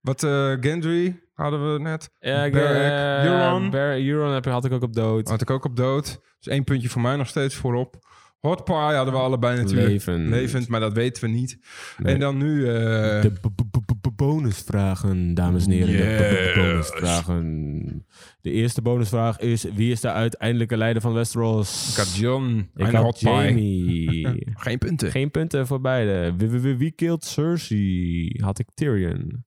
[SPEAKER 2] wat eh Gendry hadden we net.
[SPEAKER 3] Ja, ik-
[SPEAKER 2] Beric,
[SPEAKER 3] eh,
[SPEAKER 2] Euron. Oh,
[SPEAKER 3] Ber- Euron heb, had ik ook op dood.
[SPEAKER 2] Had ik ook op dood. Dus één puntje voor mij nog steeds voorop. Hot Pie hadden we allebei natuurlijk.
[SPEAKER 3] Leven.
[SPEAKER 2] Levend, maar dat weten we niet.
[SPEAKER 3] Nee.
[SPEAKER 2] En dan nu... eh,
[SPEAKER 3] De b- b- b- b- bonusvragen, dames en heren. De b- b-
[SPEAKER 2] Yes.
[SPEAKER 3] bonusvragen. De eerste bonusvraag is: wie is de uiteindelijke leider van Westeros?
[SPEAKER 2] ik had John
[SPEAKER 3] Ik
[SPEAKER 2] en
[SPEAKER 3] had
[SPEAKER 2] Hot Pie.
[SPEAKER 3] Jamie.
[SPEAKER 2] Geen punten.
[SPEAKER 3] Geen punten voor beide. Wie, wie- wie- wie killed Cersei? Had ik Tyrion.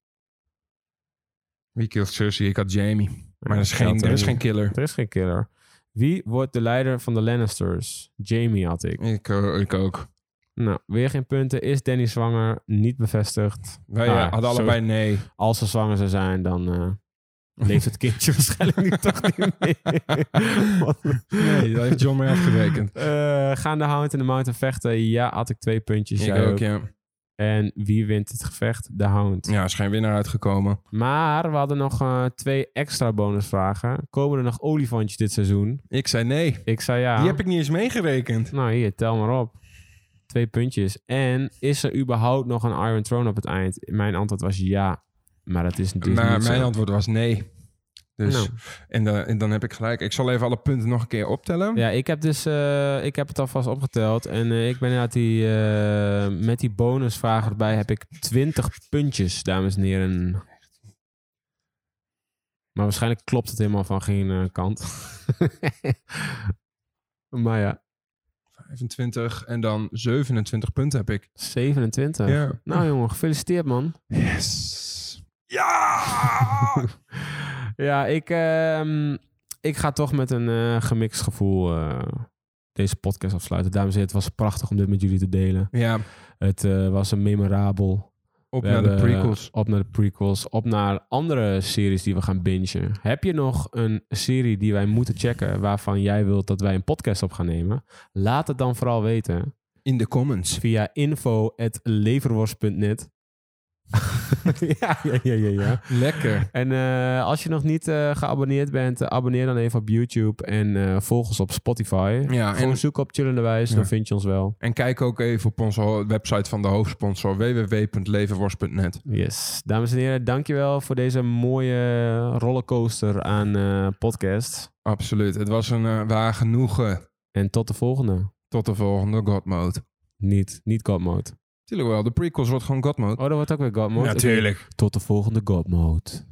[SPEAKER 2] Wie killed Cersei? Ik had Jamie. Maar er is
[SPEAKER 3] Ja,
[SPEAKER 2] geen,
[SPEAKER 3] dat
[SPEAKER 2] er is
[SPEAKER 3] weet
[SPEAKER 2] geen
[SPEAKER 3] ik.
[SPEAKER 2] killer.
[SPEAKER 3] Er is geen killer. Wie wordt de leider van de Lannisters? Jamie had ik.
[SPEAKER 2] Ik, eh, ik ook.
[SPEAKER 3] Nou, weer geen punten. Is Danny zwanger? Niet bevestigd.
[SPEAKER 2] Wij
[SPEAKER 3] Ah,
[SPEAKER 2] eh, hadden
[SPEAKER 3] zo-
[SPEAKER 2] allebei nee.
[SPEAKER 3] Als ze zwanger zou zijn, dan eh, leeft het kindje waarschijnlijk nu toch niet meer. Wat een-
[SPEAKER 2] Nee, dat heeft John mee afgerekend.
[SPEAKER 3] Eh, gaan de Hound en de Mountain vechten? Ja, had ik twee puntjes.
[SPEAKER 2] Ik
[SPEAKER 3] jij
[SPEAKER 2] ook,
[SPEAKER 3] ook.
[SPEAKER 2] ja.
[SPEAKER 3] En wie wint het gevecht? De Hound.
[SPEAKER 2] Ja, is geen winnaar uitgekomen.
[SPEAKER 3] Maar we hadden nog eh, twee extra bonusvragen. Komen er nog olifantjes dit seizoen?
[SPEAKER 2] Ik zei nee.
[SPEAKER 3] Ik zei ja.
[SPEAKER 2] Die heb ik niet eens meegerekend.
[SPEAKER 3] Nou hier, tel maar op. Twee puntjes. En is er überhaupt nog een Iron Throne op het eind? Mijn antwoord was ja. Maar dat is dus
[SPEAKER 2] maar
[SPEAKER 3] niet
[SPEAKER 2] mijn
[SPEAKER 3] zo.
[SPEAKER 2] antwoord was nee. Dus,
[SPEAKER 3] Nou.
[SPEAKER 2] en, dan, en dan heb ik gelijk. Ik zal even alle punten nog een keer optellen.
[SPEAKER 3] Ja, ik heb, dus, eh, ik heb het alvast opgeteld. En eh, ik ben inderdaad die, eh, met die bonusvragen erbij heb ik 20 puntjes, dames en heren. Maar waarschijnlijk klopt het helemaal van geen eh, kant. maar ja,
[SPEAKER 2] 25 en dan 27 punten heb ik.
[SPEAKER 3] 27.
[SPEAKER 2] Ja.
[SPEAKER 3] Nou jongen, gefeliciteerd man.
[SPEAKER 2] Yes. Ja!
[SPEAKER 3] ja, ik, ehm, ik ga toch met een eh, gemixt gevoel eh, deze podcast afsluiten. Dames en heren, het was prachtig om dit met jullie te delen.
[SPEAKER 2] ja,
[SPEAKER 3] Het eh, was een memorabel
[SPEAKER 2] op
[SPEAKER 3] We
[SPEAKER 2] naar de
[SPEAKER 3] hebben,
[SPEAKER 2] prequels.
[SPEAKER 3] eh, Op naar de prequels. Op naar andere series die we gaan bingen. Heb je nog een serie die wij moeten checken... waarvan jij wilt dat wij een podcast op gaan nemen? Laat het dan vooral weten Dus
[SPEAKER 2] In de comments.
[SPEAKER 3] via info.leverworst.net. ja, ja, ja, ja, ja.
[SPEAKER 2] Lekker.
[SPEAKER 3] En eh, als je nog niet eh, geabonneerd bent, eh, abonneer dan even op YouTube en eh, volg ons op Spotify.
[SPEAKER 2] Ja,
[SPEAKER 3] Gewoon
[SPEAKER 2] en,
[SPEAKER 3] zoek op Chillende Wijs,
[SPEAKER 2] Ja.
[SPEAKER 3] dan vind je ons wel.
[SPEAKER 2] en kijk ook even op onze ho- website van de hoofdsponsor www.leverworst.net.
[SPEAKER 3] Yes. Dames en heren, dankjewel voor deze mooie rollercoaster aan eh podcast.
[SPEAKER 2] Absoluut. Het was een eh, waar genoegen.
[SPEAKER 3] En tot de volgende.
[SPEAKER 2] Tot de volgende God Mode.
[SPEAKER 3] Niet, niet God Mode.
[SPEAKER 2] Tuurlijk wel, de prequels wordt gewoon God Mode.
[SPEAKER 3] Oh, dat wordt ook weer God Mode. Oké. Tot de volgende God Mode.